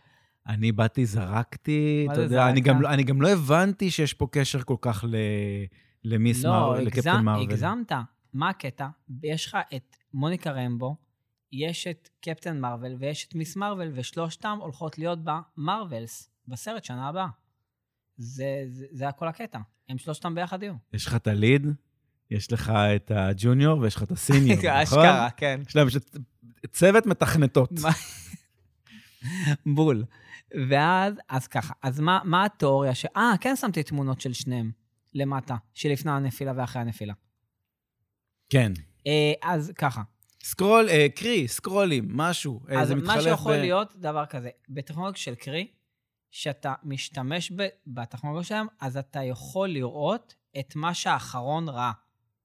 אני באתי, זרקתי,
מה
אתה
זה
יודע, אני
זרקת?
גם, לא- אני גם לא הבנתי שיש פה קשר כל כך ל... למיס
לא,
מרוויל,
הגז-
לקפטן מרוויל.
הגזמת. מה הקטע? יש לך את מוניקה רמבו, יש את קפטן מרוויל ויש את מיס מרוויל, ושלושתם הולכות להיות במרווילס, בסרט שנה הבאה. זה, זה, זה היה כל הקטע. הם שלושתם ביחד יהיו.
יש לך את הליד, יש לך את הג'וניור ויש לך את הסיניור, נכון?
אשכרה, כן.
יש להם פשוט צוות מתכנתות.
מה? בול. ואז, אז ככה, אז מה, מה התיאוריה ש... אה, כן שמתי תמונות של שניהם למטה, שלפני הנפילה ואחרי הנפילה.
כן.
אה, אז ככה,
סקרול, אה, קרי, סקרולים, משהו, אה,
אז
זה מתחלף
מה שיכול
ב-
להיות, דבר כזה, בטכנולוגיה של קרי, שאתה משתמש ב- בטכנולוגיה שלהם, אז אתה יכול לראות את מה שהאחרון ראה,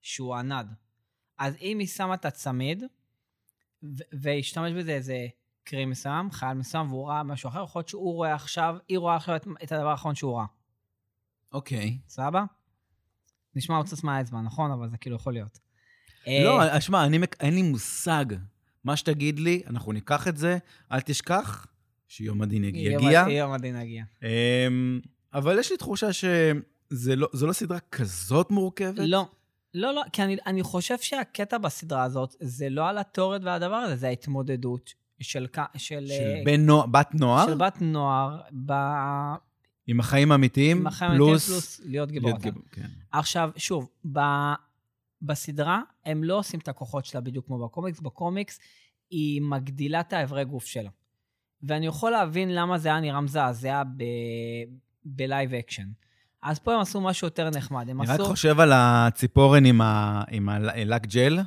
שהוא ענד. אז אם היא שמה את הצמיד, ו- והשתמש בזה איזה קרי מסוים, חייל מסוים, והוא ראה משהו אחר, יכול להיות שהוא רואה עכשיו, היא רואה עכשיו את, את הדבר האחרון שהוא ראה.
אוקיי.
סבבה? נשמע עוצץ מהאצבע, נכון? אבל זה כאילו יכול להיות. אה,
לא, שמע, אני מק- אין לי מושג. מה שתגיד לי, אנחנו ניקח את זה, אל תשכח שיום הדין יגיע.
יום- יום הדין יגיע.
אמ, אבל יש לי תחושה שזה לא, זו לא סדרה כזאת מורכבת.
לא. לא, לא, כי אני, אני חושב שהקטע בסדרה הזאת זה לא על התיאוריות והדבר הזה, זה ההתמודדות של... כ- של,
של
אה,
בן נוער, בת נוער,
של בת נוער ב...
עם החיים האמיתיים,
עם החיים
פלוס...
הנתינים פלוס
להיות
להיות גיבורת. על.
גיבור, כן.
עכשיו, שוב, ב... בסדרה הם לא עושים את הכוחות שלה בדיוק כמו בקומיקס, בקומיקס היא מגדילה את האיברי גוף שלה. ואני יכול להבין למה זה היה נראה מזעזע ב... בלייב אקשן. אז פה הם עשו משהו יותר נחמד, הם
אני
עשו...
רק חושב על הציפורן עם ה- עם הלק ג'ל,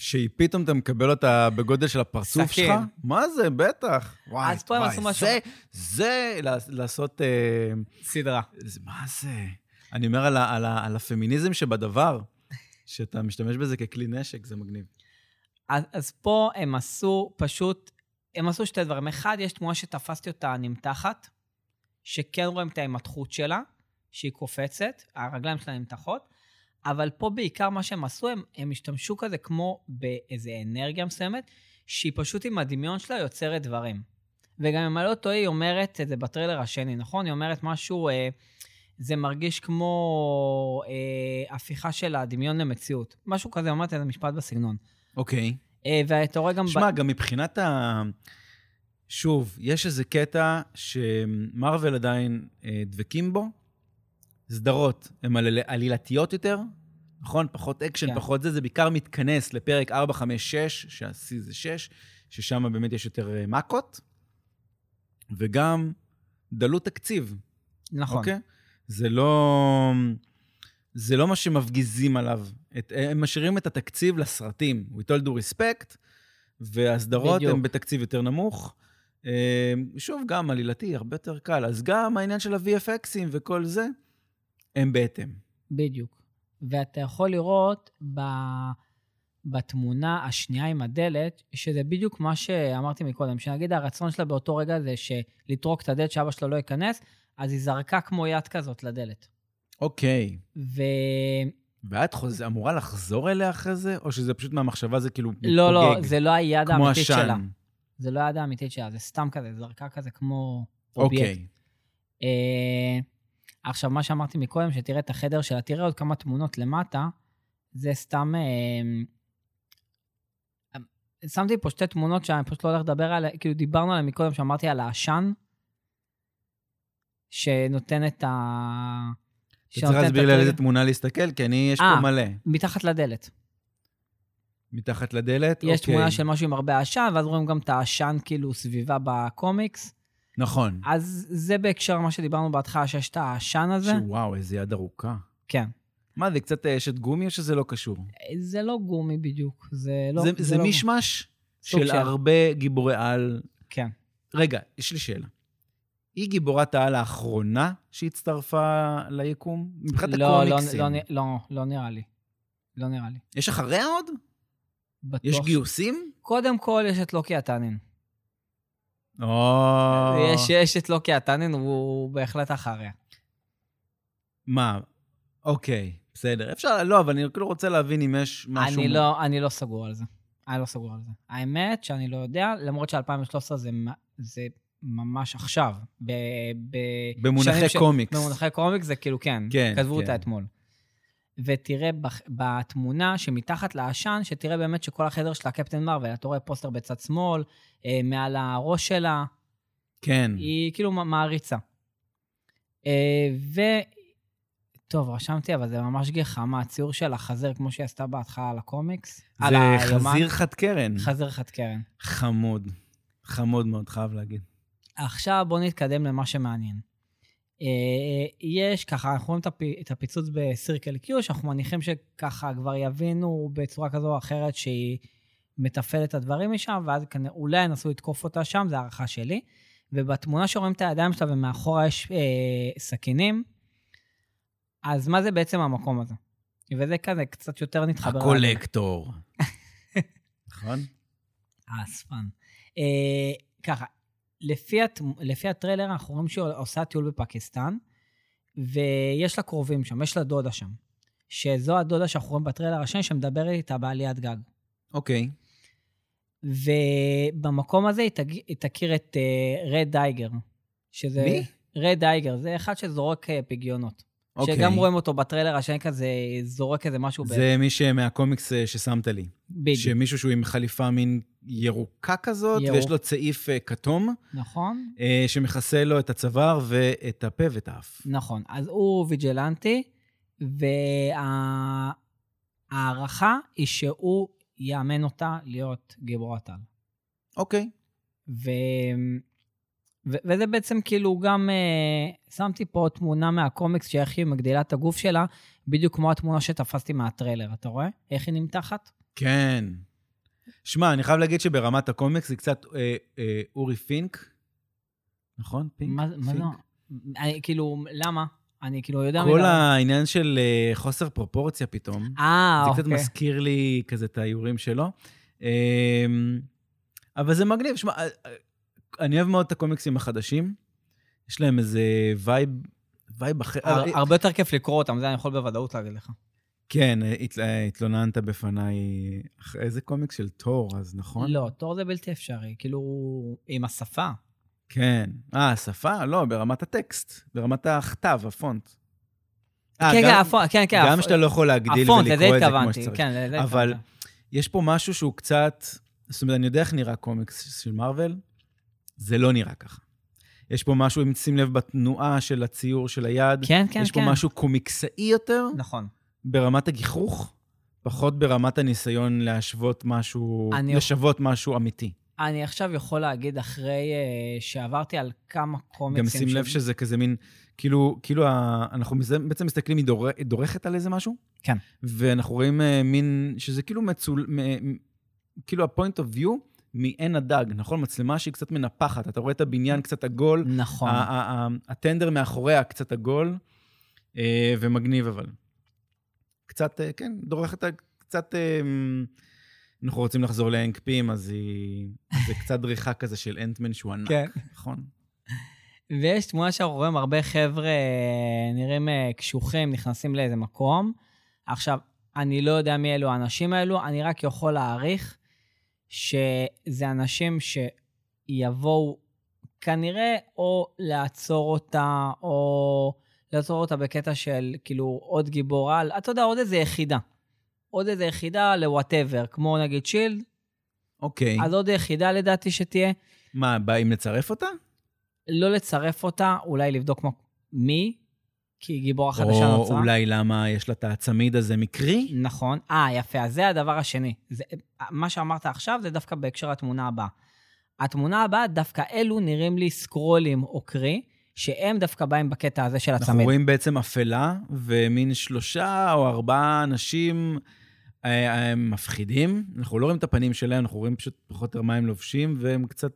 שהיא פתאום אתה מקבל אותה בגודל של הפרצוף
סכין.
שלך. מה זה, בטח. וואי,
אז פה הם
וואי,
עשו משהו-
זה, זה לעס- לעשות... אה,
סדרה.
זה- מה זה? אני אומר על ה- על ה- על הפמיניזם שבדבר, שאתה משתמש בזה ככלי נשק, זה מגניב.
אז, אז פה הם עשו פשוט, הם עשו שתי דברים. אחד, יש תמונה שתפסתי אותה נמתחת, שכן רואים את ההימתחות שלה, שהיא קופצת, הרגליים שלה נמתחות, אבל פה בעיקר מה שהם עשו, הם, הם השתמשו כזה כמו באיזה אנרגיה מסוימת, שהיא פשוט עם הדמיון שלה יוצרת דברים. וגם אם אני לא טועה, היא אומרת את זה בטריילר השני, נכון? היא אומרת משהו, אה, זה מרגיש כמו אה, הפיכה של הדמיון למציאות. משהו כזה, אמרתי איזה משפט בסגנון.
אוקיי.
אה, ואתה רואה גם...
שמע, גם מבחינת ה... שוב, יש איזה קטע שמרוויל עדיין אה, דבקים בו. סדרות הן עליל- עלילתיות יותר, נכון? פחות אקשן,
כן.
כן. פחות זה, זה בעיקר מתכנס לפרק 4, 5, 6, שהשיא זה 6, ששם באמת יש יותר אה, מכות, וגם דלות תקציב.
נכון.
אוקיי? זה לא... זה לא מה שמפגיזים עליו. את, הם משאירים את התקציב לסרטים. We told you respect, והסדרות
בדיוק.
הן בתקציב יותר נמוך. אה, שוב, גם עלילתי, הרבה יותר קל. אז גם העניין של ה-VFXים וכל זה, הם בהתאם.
בדיוק. ואתה יכול לראות ב... בתמונה השנייה עם הדלת, שזה בדיוק מה שאמרתי מקודם, שנגיד הרצון שלה באותו רגע זה שלטרוק את הדלת שאבא שלה לא ייכנס, אז היא זרקה כמו יד כזאת לדלת.
אוקיי.
ולא,
ואת חוז... אמורה לחזור אליה אחרי זה, או שזה פשוט מהמחשבה זה כאילו מתפוגג?
לא, זה לא היד
כמו
האמיתית
עשן?
שלה. זה לא היד האמיתית שלה, זה סתם כזה, זרקה כזה כמו אובייקט.
אוקיי.
אה, עכשיו, מה שאמרתי מקודם, שתראה את החדר שלה, תראה עוד כמה תמונות למטה, זה סתם... אה, שמתי פה שתי תמונות שאני פשוט לא הולך לדבר עליהן, כאילו דיברנו עליהן מקודם, שאמרתי על העשן, שנותן את ה...
אתה
שנותן
צריך
את
להסביר לי על
הטריגר-
איזה תמונה להסתכל, כי אני, יש פה
אה.
מלא.
מתחת לדלת.
מתחת לדלת,
יש
אוקיי.
תמונה של משהו עם הרבה עשן, ואז רואים גם את העשן כאילו סביבה בקומיקס.
נכון.
אז זה בהקשר למה שדיברנו בהתחלה, שיש את העשן הזה.
שוואו, איזה יד ארוכה.
כן.
מה, זה קצת אה, אשת גומי או שזה לא קשור?
זה לא גומי בדיוק, זה לא...
זה, זה
לא-
מישמש
סוג
של
של.
הרבה גיבורי על.
כן.
רגע, יש לי שאלה. היא גיבורת העל האחרונה שהצטרפה ליקום? מבחינת
לא, לא,
הקומיקסים.
לא, נ- לא, לא נראה לי. לא נראה לי.
יש אחריה עוד?
בטוח.
יש גיוסים?
קודם כל יש את לוקי אטנין.
או... אה.
יש, יש את לוקי אטנין, הוא בהחלט אחריה.
מה? אוקיי, בסדר. אפשר, לא, אבל אני כאילו רוצה להבין אם יש משהו...
אני לא, אני לא סגור על זה. אני לא סגור על זה. האמת שאני לא יודע, למרות ש-2013 זה, מ- זה ממש עכשיו. ב, ב,
במונחי
שנים ש-
קומיקס.
במונחי קומיקס זה כאילו כן,
כן,
כתבו
כן.
אותה אתמול. ותראה בח- בתמונה שמתחת לעשן, שתראה באמת שכל החדר שלה קפטן מרוויל, אתה רואה פוסטר בצד שמאל, אה, מעל הראש שלה,
כן.
היא כאילו מ- מעריצה. אה, ו... טוב, רשמתי, אבל זה ממש גחמה, הציור של החזיר, כמו שהיא עשתה בהתחלה על הקומיקס. על
זה
היומן.
חזיר חד קרן.
חזיר חד קרן.
חמוד. חמוד מאוד, חייב להגיד.
עכשיו בואו נתקדם למה שמעניין. אה, יש ככה, אנחנו רואים את הפ- את הפיצוץ בסירקל קיו, שאנחנו מניחים שככה כבר יבינו בצורה כזו או אחרת שהיא מתפעלת את הדברים משם, ואז כנראה אולי ינסו לתקוף אותה שם, זו הערכה שלי. ובתמונה שרואים את הידיים שלה ומאחורה יש אה, סכינים, אז מה זה בעצם המקום הזה? וזה כזה קצת יותר נתחבר.
אה, הקולקטור. נכון?
האספן. אה, ככה, לפי, הת... לפי הטריילר אנחנו רואים שהיא עושה טיול בפקיסטן, ויש לה קרובים שם, יש לה דודה שם. שזו הדודה שאנחנו רואים בטריילר השני שמדברת איתה בעליית גג.
אוקיי.
ובמקום הזה היא, תג... היא תכיר את אה, רד דייגר. שזה...
מי?
רד דייגר, זה אחד שזורק אה, פגיונות.
אוקיי.
שגם רואים אותו בטריילר השני כזה, זורק איזה משהו. ב...
זה מי שמהקומיקס אה, ששמת לי.
בדיוק,
שמישהו שהוא עם חליפה מין ירוקה כזאת,
ירוק.
ויש לו צעיף אה, כתום,
נכון?
אה, שמכסה לו את הצוואר ואת הפה ואת האף.
נכון, אז הוא ויג'לנטי, וההערכה היא שהוא יאמן אותה להיות גיבורת על.
אוקיי.
ו... ו... וזה בעצם כאילו גם, אה, שמתי פה תמונה מהקומיקס שאיך היא מגדילה את הגוף שלה, בדיוק כמו התמונה שתפסתי מהטריילר, אתה רואה? איך היא נמתחת?
כן. שמע, אני חייב להגיד שברמת הקומיקס זה קצת אה, אה, אורי פינק, נכון? פינק?
מה, מה
פינק?
לא? אני, כאילו, למה? אני כאילו יודע...
כל
מי-
העניין של אה, חוסר פרופורציה פתאום.
אה,
זה
אוקיי.
קצת מזכיר לי כזה את האיורים שלו. אמ, אבל זה מגניב. שמע, אה, אה, אני אוהב מאוד את הקומיקסים החדשים. יש להם איזה וייב, וייב אחר. אה,
הר- הרבה יותר כיף לקרוא אותם, זה אני יכול בוודאות להגיד לך.
כן, אה, הת- אה, התלוננת בפניי אחרי איזה קומיקס של תור, אז נכון?
לא, תור זה בלתי אפשרי, כאילו, עם השפה.
אה, כן. אה, השפה? לא, ברמת הטקסט, ברמת הכתב, הפונט. אה,
כן,
גם-
כן, הפונט, כן, כן.
גם
הפ-
שאתה לא יכול להגדיל
הפונט, לזה
ולקרוא את זה כמו
התכוונתי,
שצריך.
כן, לזה התכוונתי.
אבל- יש פה משהו שהוא קצת... זאת אומרת, אני יודע איך נראה קומיקס של מארוול, זה לא נראה ככה. יש פה משהו, אם שים לב, בתנועה של הציור של היד.
כן, כן, כן.
יש פה משהו קומיקסאי יותר,
נכון.
ברמת הגיחוך, פחות ברמת הניסיון להשוות משהו,
אני-
לשוות משהו אמיתי.
אני עכשיו יכול להגיד, אחרי אה, שעברתי על כמה
גם
קומיקסים...
שים לב
ש-
שזה כזה מין, כאילו, כאילו ה- אנחנו מזה- בעצם מסתכלים, היא דור- היא דורכת על איזה משהו?
כן.
ואנחנו רואים אה, מין, שזה כאילו מצול... מ- מ- כאילו ה-point of view מעין הדג, נכון? מצלמה שהיא קצת מנפחת, אתה רואה את הבניין קצת עגול,
נכון.
ה- ה- ה- הטנדר מאחוריה קצת עגול, אה, ומגניב אבל. קצת, אה, כן, דורכת על- קצת... אה, מ- אנחנו רוצים לחזור לאנקפים, אז היא... זה קצת דריכה כזה של אנטמן שהוא ענק,
כן.
נכון?
ויש תמונה שאנחנו רואים הרבה חבר'ה אה, נראים אה, קשוחים, נכנסים לאיזה מקום. עכשיו, אני לא יודע מי אלו האנשים האלו, אני רק יכול להעריך שזה אנשים שיבואו כנראה או לעצור אותה, או לעצור אותה בקטע של כאילו עוד גיבור על, אתה יודע, עוד איזה יחידה. עוד איזה יחידה לוואטאבר, כמו נגיד שילד,
אוקיי.
אז עוד יחידה לדעתי שתהיה.
מה, באים לצרף אותה?
לא לצרף אותה, אולי לבדוק מה, מי, כי גיבור החדשה
או
נוצרה.
אולי למה יש לה את הצמיד הזה מקרי?
נכון. אה, יפה, אז זה הדבר השני. זה, מה שאמרת עכשיו זה דווקא בהקשר לתמונה הבאה. התמונה הבאה, דווקא אלו נראים לי סקרולים או קרי, שהם דווקא באים בקטע הזה של
אנחנו
הצמיד.
רואים בעצם אפלה ומין שלושה או ארבעה אנשים אה, אה, מפחידים. אנחנו לא רואים את הפנים שלהם, אנחנו רואים פשוט פחות או יותר מה הם לובשים, והם קצת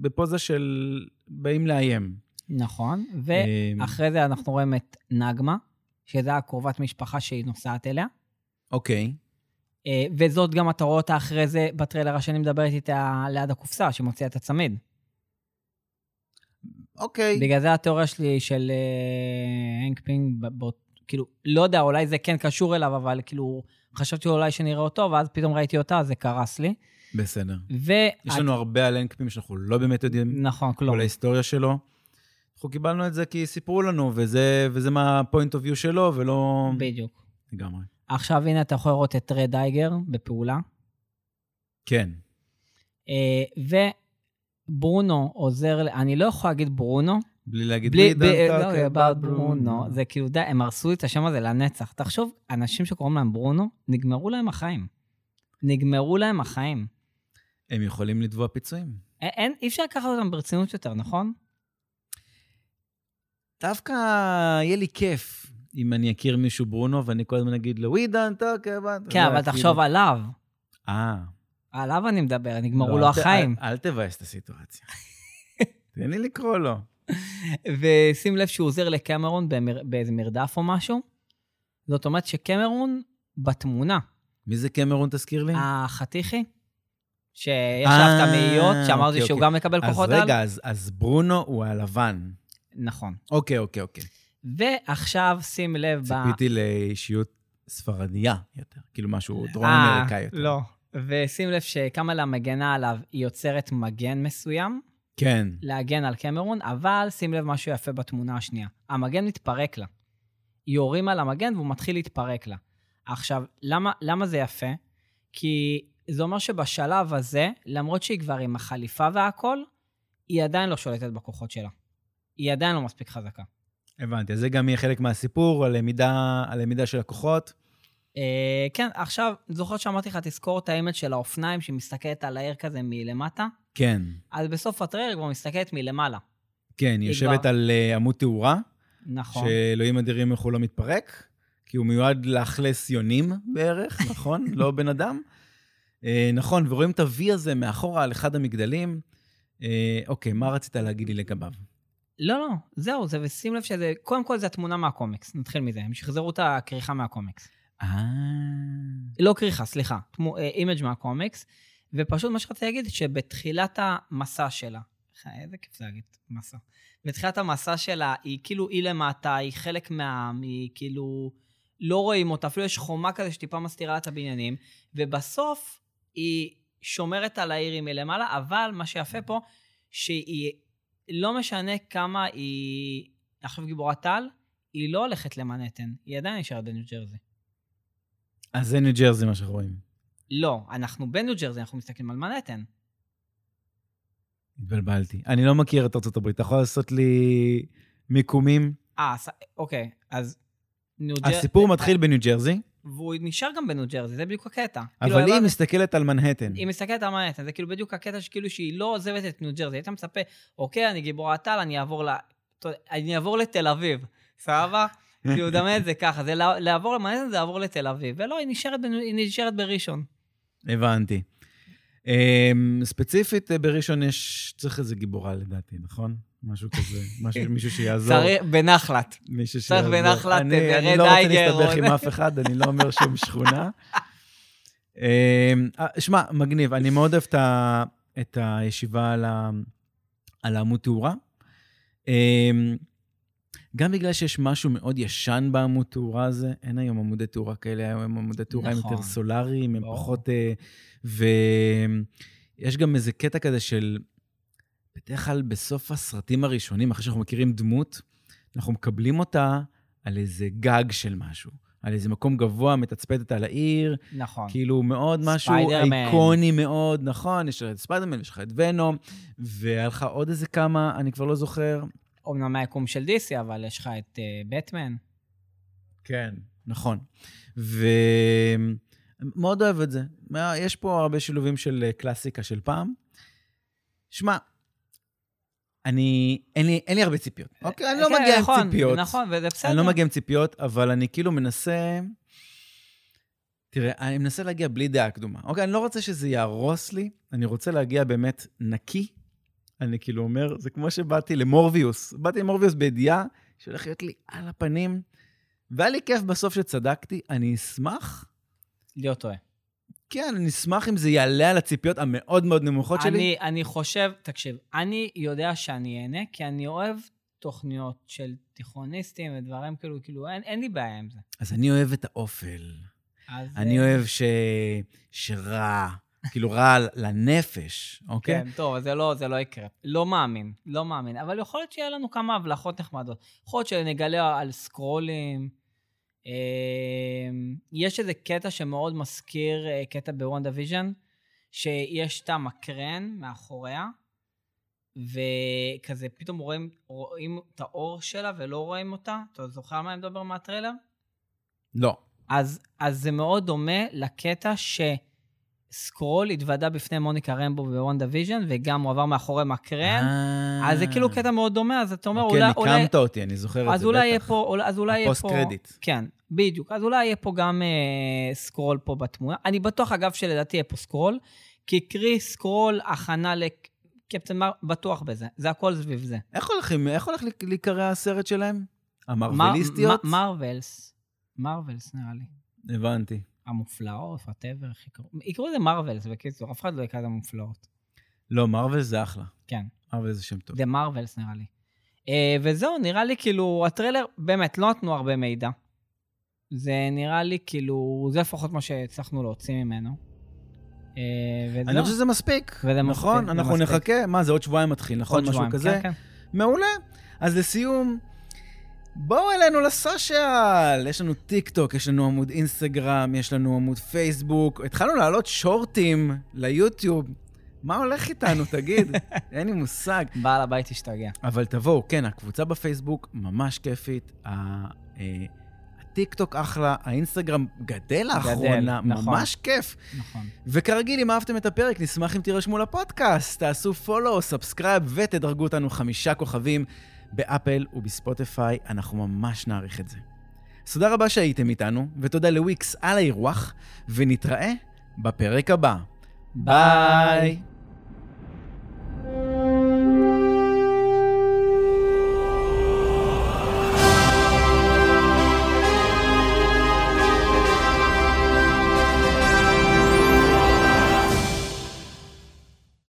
בפוזה של באים לאיים.
נכון.
אה,
ואחרי זה אנחנו רואים את נגמה, שזו הקרובת משפחה שהיא נוסעת אליה.
אוקיי.
אה, וזאת גם אתה רואה אותה אחרי זה בטריילר השני מדברת איתה ליד הקופסה, שמוציאה את הצמיד.
אוקיי.
בגלל זה התיאוריה שלי של אה, הנק פינג, ב- באות- כאילו, לא יודע, אולי זה כן קשור אליו, אבל כאילו, חשבתי אולי שנראה אותו, ואז פתאום ראיתי אותה, אז זה קרס לי.
בסדר.
ו...
יש לנו הרבה על אנקפים שאנחנו לא באמת יודעים
נכון,
כל
כלום.
ההיסטוריה שלו. אנחנו קיבלנו את זה כי סיפרו לנו, וזה וזה מה ה-point of view שלו, ולא...
בדיוק.
לגמרי.
עכשיו, הנה, אתה יכול לראות את רד אייגר בפעולה,
כן.
אה, וברונו עוזר, ל- אני לא יכול להגיד ברונו,
בלי להגיד
בלי...
"We
ב-
don't
לא,
talk
about
about
ברונו.
Bruno.
זה כאילו, די, הם הרסו את השם הזה לנצח. תחשוב, אנשים שקוראים להם ברונו, נגמרו להם החיים. נגמרו להם החיים.
הם יכולים לתבוע פיצויים.
אין- אין, אי אפשר לקחת אותם ברצינות יותר, נכון?
דווקא יהיה לי כיף אם אני אכיר מישהו ברונו ואני כל הזמן אגיד לו, We don't talk about... לא
כן, אבל תחשוב עליו.
אה.
עליו אני מדבר, נגמרו
לא,
לו
אל ת-
החיים.
אל- אל תבאס את הסיטואציה. תן לי לקרוא לו. אה.
ושים לב שהוא עוזר לקמרון במר- באיזה מרדף או משהו. זאת אומרת שקמרון בתמונה.
מי זה קמרון, תזכיר לי?
אה, החתיכי, שיש עליו את
כן. אה,
המאיות, שאמרתי
אוקיי,
שהוא
אוקיי.
גם מקבל
אז
כוחות על.
רגע, אז- אז ברונו הוא הלבן.
נכון.
אוקיי, אוקיי, אוקיי.
ועכשיו שים לב ב...
ציפיתי לאישיות ספרדיה יותר, כאילו משהו דרום
אה,
אמריקאי יותר.
לא. ושים לב שקמלה מגנה עליו, היא יוצרת מגן מסוים.
כן.
להגן על קמרון, אבל שים לב משהו יפה בתמונה השנייה. המגן מתפרק לה. יורים על המגן והוא מתחיל להתפרק לה. עכשיו, למה, למה זה יפה? כי זה אומר שבשלב הזה, למרות שהיא כבר עם החליפה והכל, היא עדיין לא שולטת בכוחות שלה. היא עדיין לא מספיק חזקה.
הבנתי, אז זה גם יהיה חלק מהסיפור, הלמידה, הלמידה של הכוחות.
אה, כן, עכשיו, זוכרת שאמרתי לך, תזכור את האימג' של האופניים, שהיא מסתכלת על העיר כזה מלמטה?
כן,
אז בסוף הטריילר היא כבר מסתכלת מלמעלה.
כן, היא
היא
יושבת
כבר-
על אה, עמוד תאורה,
נכון.
שאלוהים אדירים איך הוא לא מתפרק, כי הוא מיועד לאכלס יונים בערך, נכון? לא בן אדם. אה, נכון, ורואים את ה-V הזה מאחורה על אחד המגדלים. אה, אוקיי, מה רצית להגיד לי לגביו?
לא, לא, זהו, זה, ושים לב שזה, קודם כל זה התמונה מהקומיקס, נתחיל מזה, הם שחזרו את הכריכה מהקומיקס.
אה...
לא כריכה, סליחה, תמו- אה, אימג' מהקומיקס, ופשוט מה שרציתי להגיד, שבתחילת המסע שלה, אה, איזה כיף זה להגיד, מסע. בתחילת המסע שלה, היא כאילו, היא למטה, היא חלק מהעם, היא כאילו, לא רואים אותה, אפילו יש חומה כזה שטיפה מסתירה לה את הבניינים, ובסוף היא שומרת על העיר מלמעלה, אבל מה שיפה פה, שהיא, לא משנה כמה היא, עכשיו גיבורת על, היא לא הולכת למנהטן, היא עדיין נשארת בניו ג'רזי.
אז זה ניו ג'רזי מה שאנחנו רואים.
לא, אנחנו בניו ג'רזי, אנחנו מסתכלים על מנהטן.
התבלבלתי. אני לא מכיר את ארצות הברית. אתה יכול לעשות לי מיקומים?
אה, ס- אוקיי, אז ניו ג'רזי...
הסיפור מתחיל בניו ג'רזי,
והוא נשאר גם בניו ג'רזי, זה בדיוק הקטע. כאילו,
אבל היא
הבנתי-
מסתכלת על מנהטן.
היא מסתכלת על מנהטן, זה כאילו בדיוק הקטע שכאילו שהיא לא עוזבת את ניו ג'רזי. היית מצפה, אוקיי, אני גיבורת על, אני אעבור ל... אתה יודע, אני אעבור לתל אביב, סבבה? כאילו, דמה את זה ככה, זה לע- לעבור למנהטן זה לעבור לתל אביב. ולא, היא נשארת, בנו- היא נשארת בראשון.
הבנתי. אמ, ספציפית, אה, בראשון יש, צריך איזה גיבורה לדעתי, נכון? משהו כזה, משהו, מישהו שיעזור.
צריך בנחלת.
מישהו
צריך
שיעזור.
בנחלת,
אני-
תדרה
אני לא רוצה
דייגר,
להסתבך
או-
עם אף אחד, אני לא אומר שום שכונה. אמ, אה, שמע, מגניב, אני מאוד אוהב את ה- את הישיבה על ה- על העמוד תאורה. אמ, גם בגלל שיש משהו מאוד ישן בעמוד תאורה הזה, אין היום עמודי תאורה כאלה, היום הם עמודי תאורה הם
נכון.
יותר סולאריים, הם
ברור.
פחות... אה, ויש גם איזה קטע כזה של, בדרך כלל בסוף הסרטים הראשונים, אחרי שאנחנו מכירים דמות, אנחנו מקבלים אותה על איזה גג של משהו, על איזה מקום גבוה, מתצפתת על העיר,
נכון.
כאילו מאוד משהו
ספיידרמן.
אייקוני מאוד, נכון, יש לך את ספיידרמן, יש לך את ונום, והיה לך עוד איזה כמה, אני כבר לא זוכר.
אומנם מהיקום של דיסי, אבל יש לך את אה, בטמן.
כן. נכון. ומאוד אוהב את זה. מה- יש פה הרבה שילובים של אה, קלאסיקה של פעם. שמע, אני, אין לי, אין לי הרבה ציפיות. אוקיי, אני לא
כן,
מגיע
נכון,
עם ציפיות.
נכון, וזה בסדר.
אני לא מגיע עם ציפיות, אבל אני כאילו מנסה... תראה, אני מנסה להגיע בלי דעה קדומה. אוקיי, אני לא רוצה שזה יהרוס לי, אני רוצה להגיע באמת נקי. אני כאילו אומר, זה כמו שבאתי למורביוס. באתי למורביוס בידיעה שהולך להיות לי על הפנים, והיה לי כיף בסוף שצדקתי, אני אשמח.
להיות טועה.
כן, אני אשמח אם זה יעלה על הציפיות המאוד מאוד נמוכות שלי.
אני, אני חושב, תקשיב, אני יודע שאני אהנה, כי אני אוהב תוכניות של תיכוניסטים ודברים כאילו, כאילו, אין, אין לי בעיה עם זה.
אז אני אוהב את האופל.
אז,
אני
אה,
אוהב ש... שרע, כאילו רע לנפש, אוקיי?
כן, טוב, זה לא, זה לא יקרה. לא מאמין, לא מאמין. אבל יכול להיות שיהיה לנו כמה הבלחות נחמדות. יכול להיות שנגלה על סקרולים. אה, יש איזה קטע שמאוד מזכיר אה, קטע בוונדה ויז'ן, שיש את המקרן מאחוריה, וכזה פתאום רואים, רואים את האור שלה ולא רואים אותה. אתה זוכר על מה אני מדבר מהטריילר?
לא.
אז, אז זה מאוד דומה לקטע שסקרול התוודה בפני מוניקה רמבו בוונדה ויז'ן, וגם הוא עבר מאחורי מקרן.
אה.
כן? אז זה כאילו קטע מאוד דומה, אז אתה אומר,
כן,
אולי... אולי-
ניקמת אותי, אני זוכר את זה, בטח.
אז אולי יהיה פה, אולי- אז אולי יהיה פה...
הפוסט קרדיט.
כן, בדיוק. אז אולי יהיה פה גם אה, סקרול פה בתמונה. אני בטוח, אגב, שלדעתי יהיה פה סקרול, כי קרי סקרול הכנה לקפטן מר, בטוח בזה. זה הכל סביב זה.
איך הולכים- איך הולך לי- להיקרא הסרט שלהם?
מר-
המרוויליסטיות?
מ- מרוולס. מרוולס, נראה לי.
הבנתי.
המופלאות, וואטאבר, איך יקראו. יקראו לזה מרוולס, בקיצור, אף אחד לא יקרא לזה מופלאות.
לא, מרוויל זה אחלה.
כן.
מרוויל זה שם טוב.
זה מרוולס, נראה לי. אה, וזהו, נראה לי כאילו, הטריילר, באמת, לא נתנו הרבה מידע. זה נראה לי כאילו, זה לפחות מה שהצלחנו להוציא ממנו. אה, וזהו.
אני חושב שזה מספיק,
וזה מספיק,
נכון?
זה
אנחנו
מספיק.
נחכה, מה זה עוד שבועיים מתחיל,
עוד
נכון? משהו
שבועיים.
כזה?
כן, כן.
מעולה. אז לסיום, בואו אלינו לסושיאל. יש לנו טיק טוק, יש לנו עמוד אינסטגרם, יש לנו עמוד פייסבוק. התחלנו להעלות שורטים ליוטיוב. מה הולך איתנו, תגיד? אין לי מושג.
בעל הבית השתגע.
אבל תבואו, כן, הקבוצה בפייסבוק ממש כיפית. ה- אה, הטיקטוק אחלה, האינסטגרם גדל לאחרונה,
נכון.
ממש כיף.
נכון.
וכרגיל, אם אהבתם את הפרק, נשמח אם תירשמו לפודקאסט, תעשו follow, סאבסקרייב ותדרגו אותנו חמישה כוכבים באפל ובספוטיפיי, אנחנו ממש נעריך את זה. אז תודה רבה שהייתם איתנו, ותודה לוויקס על האירוח, ונתראה בפרק הבא. ביי.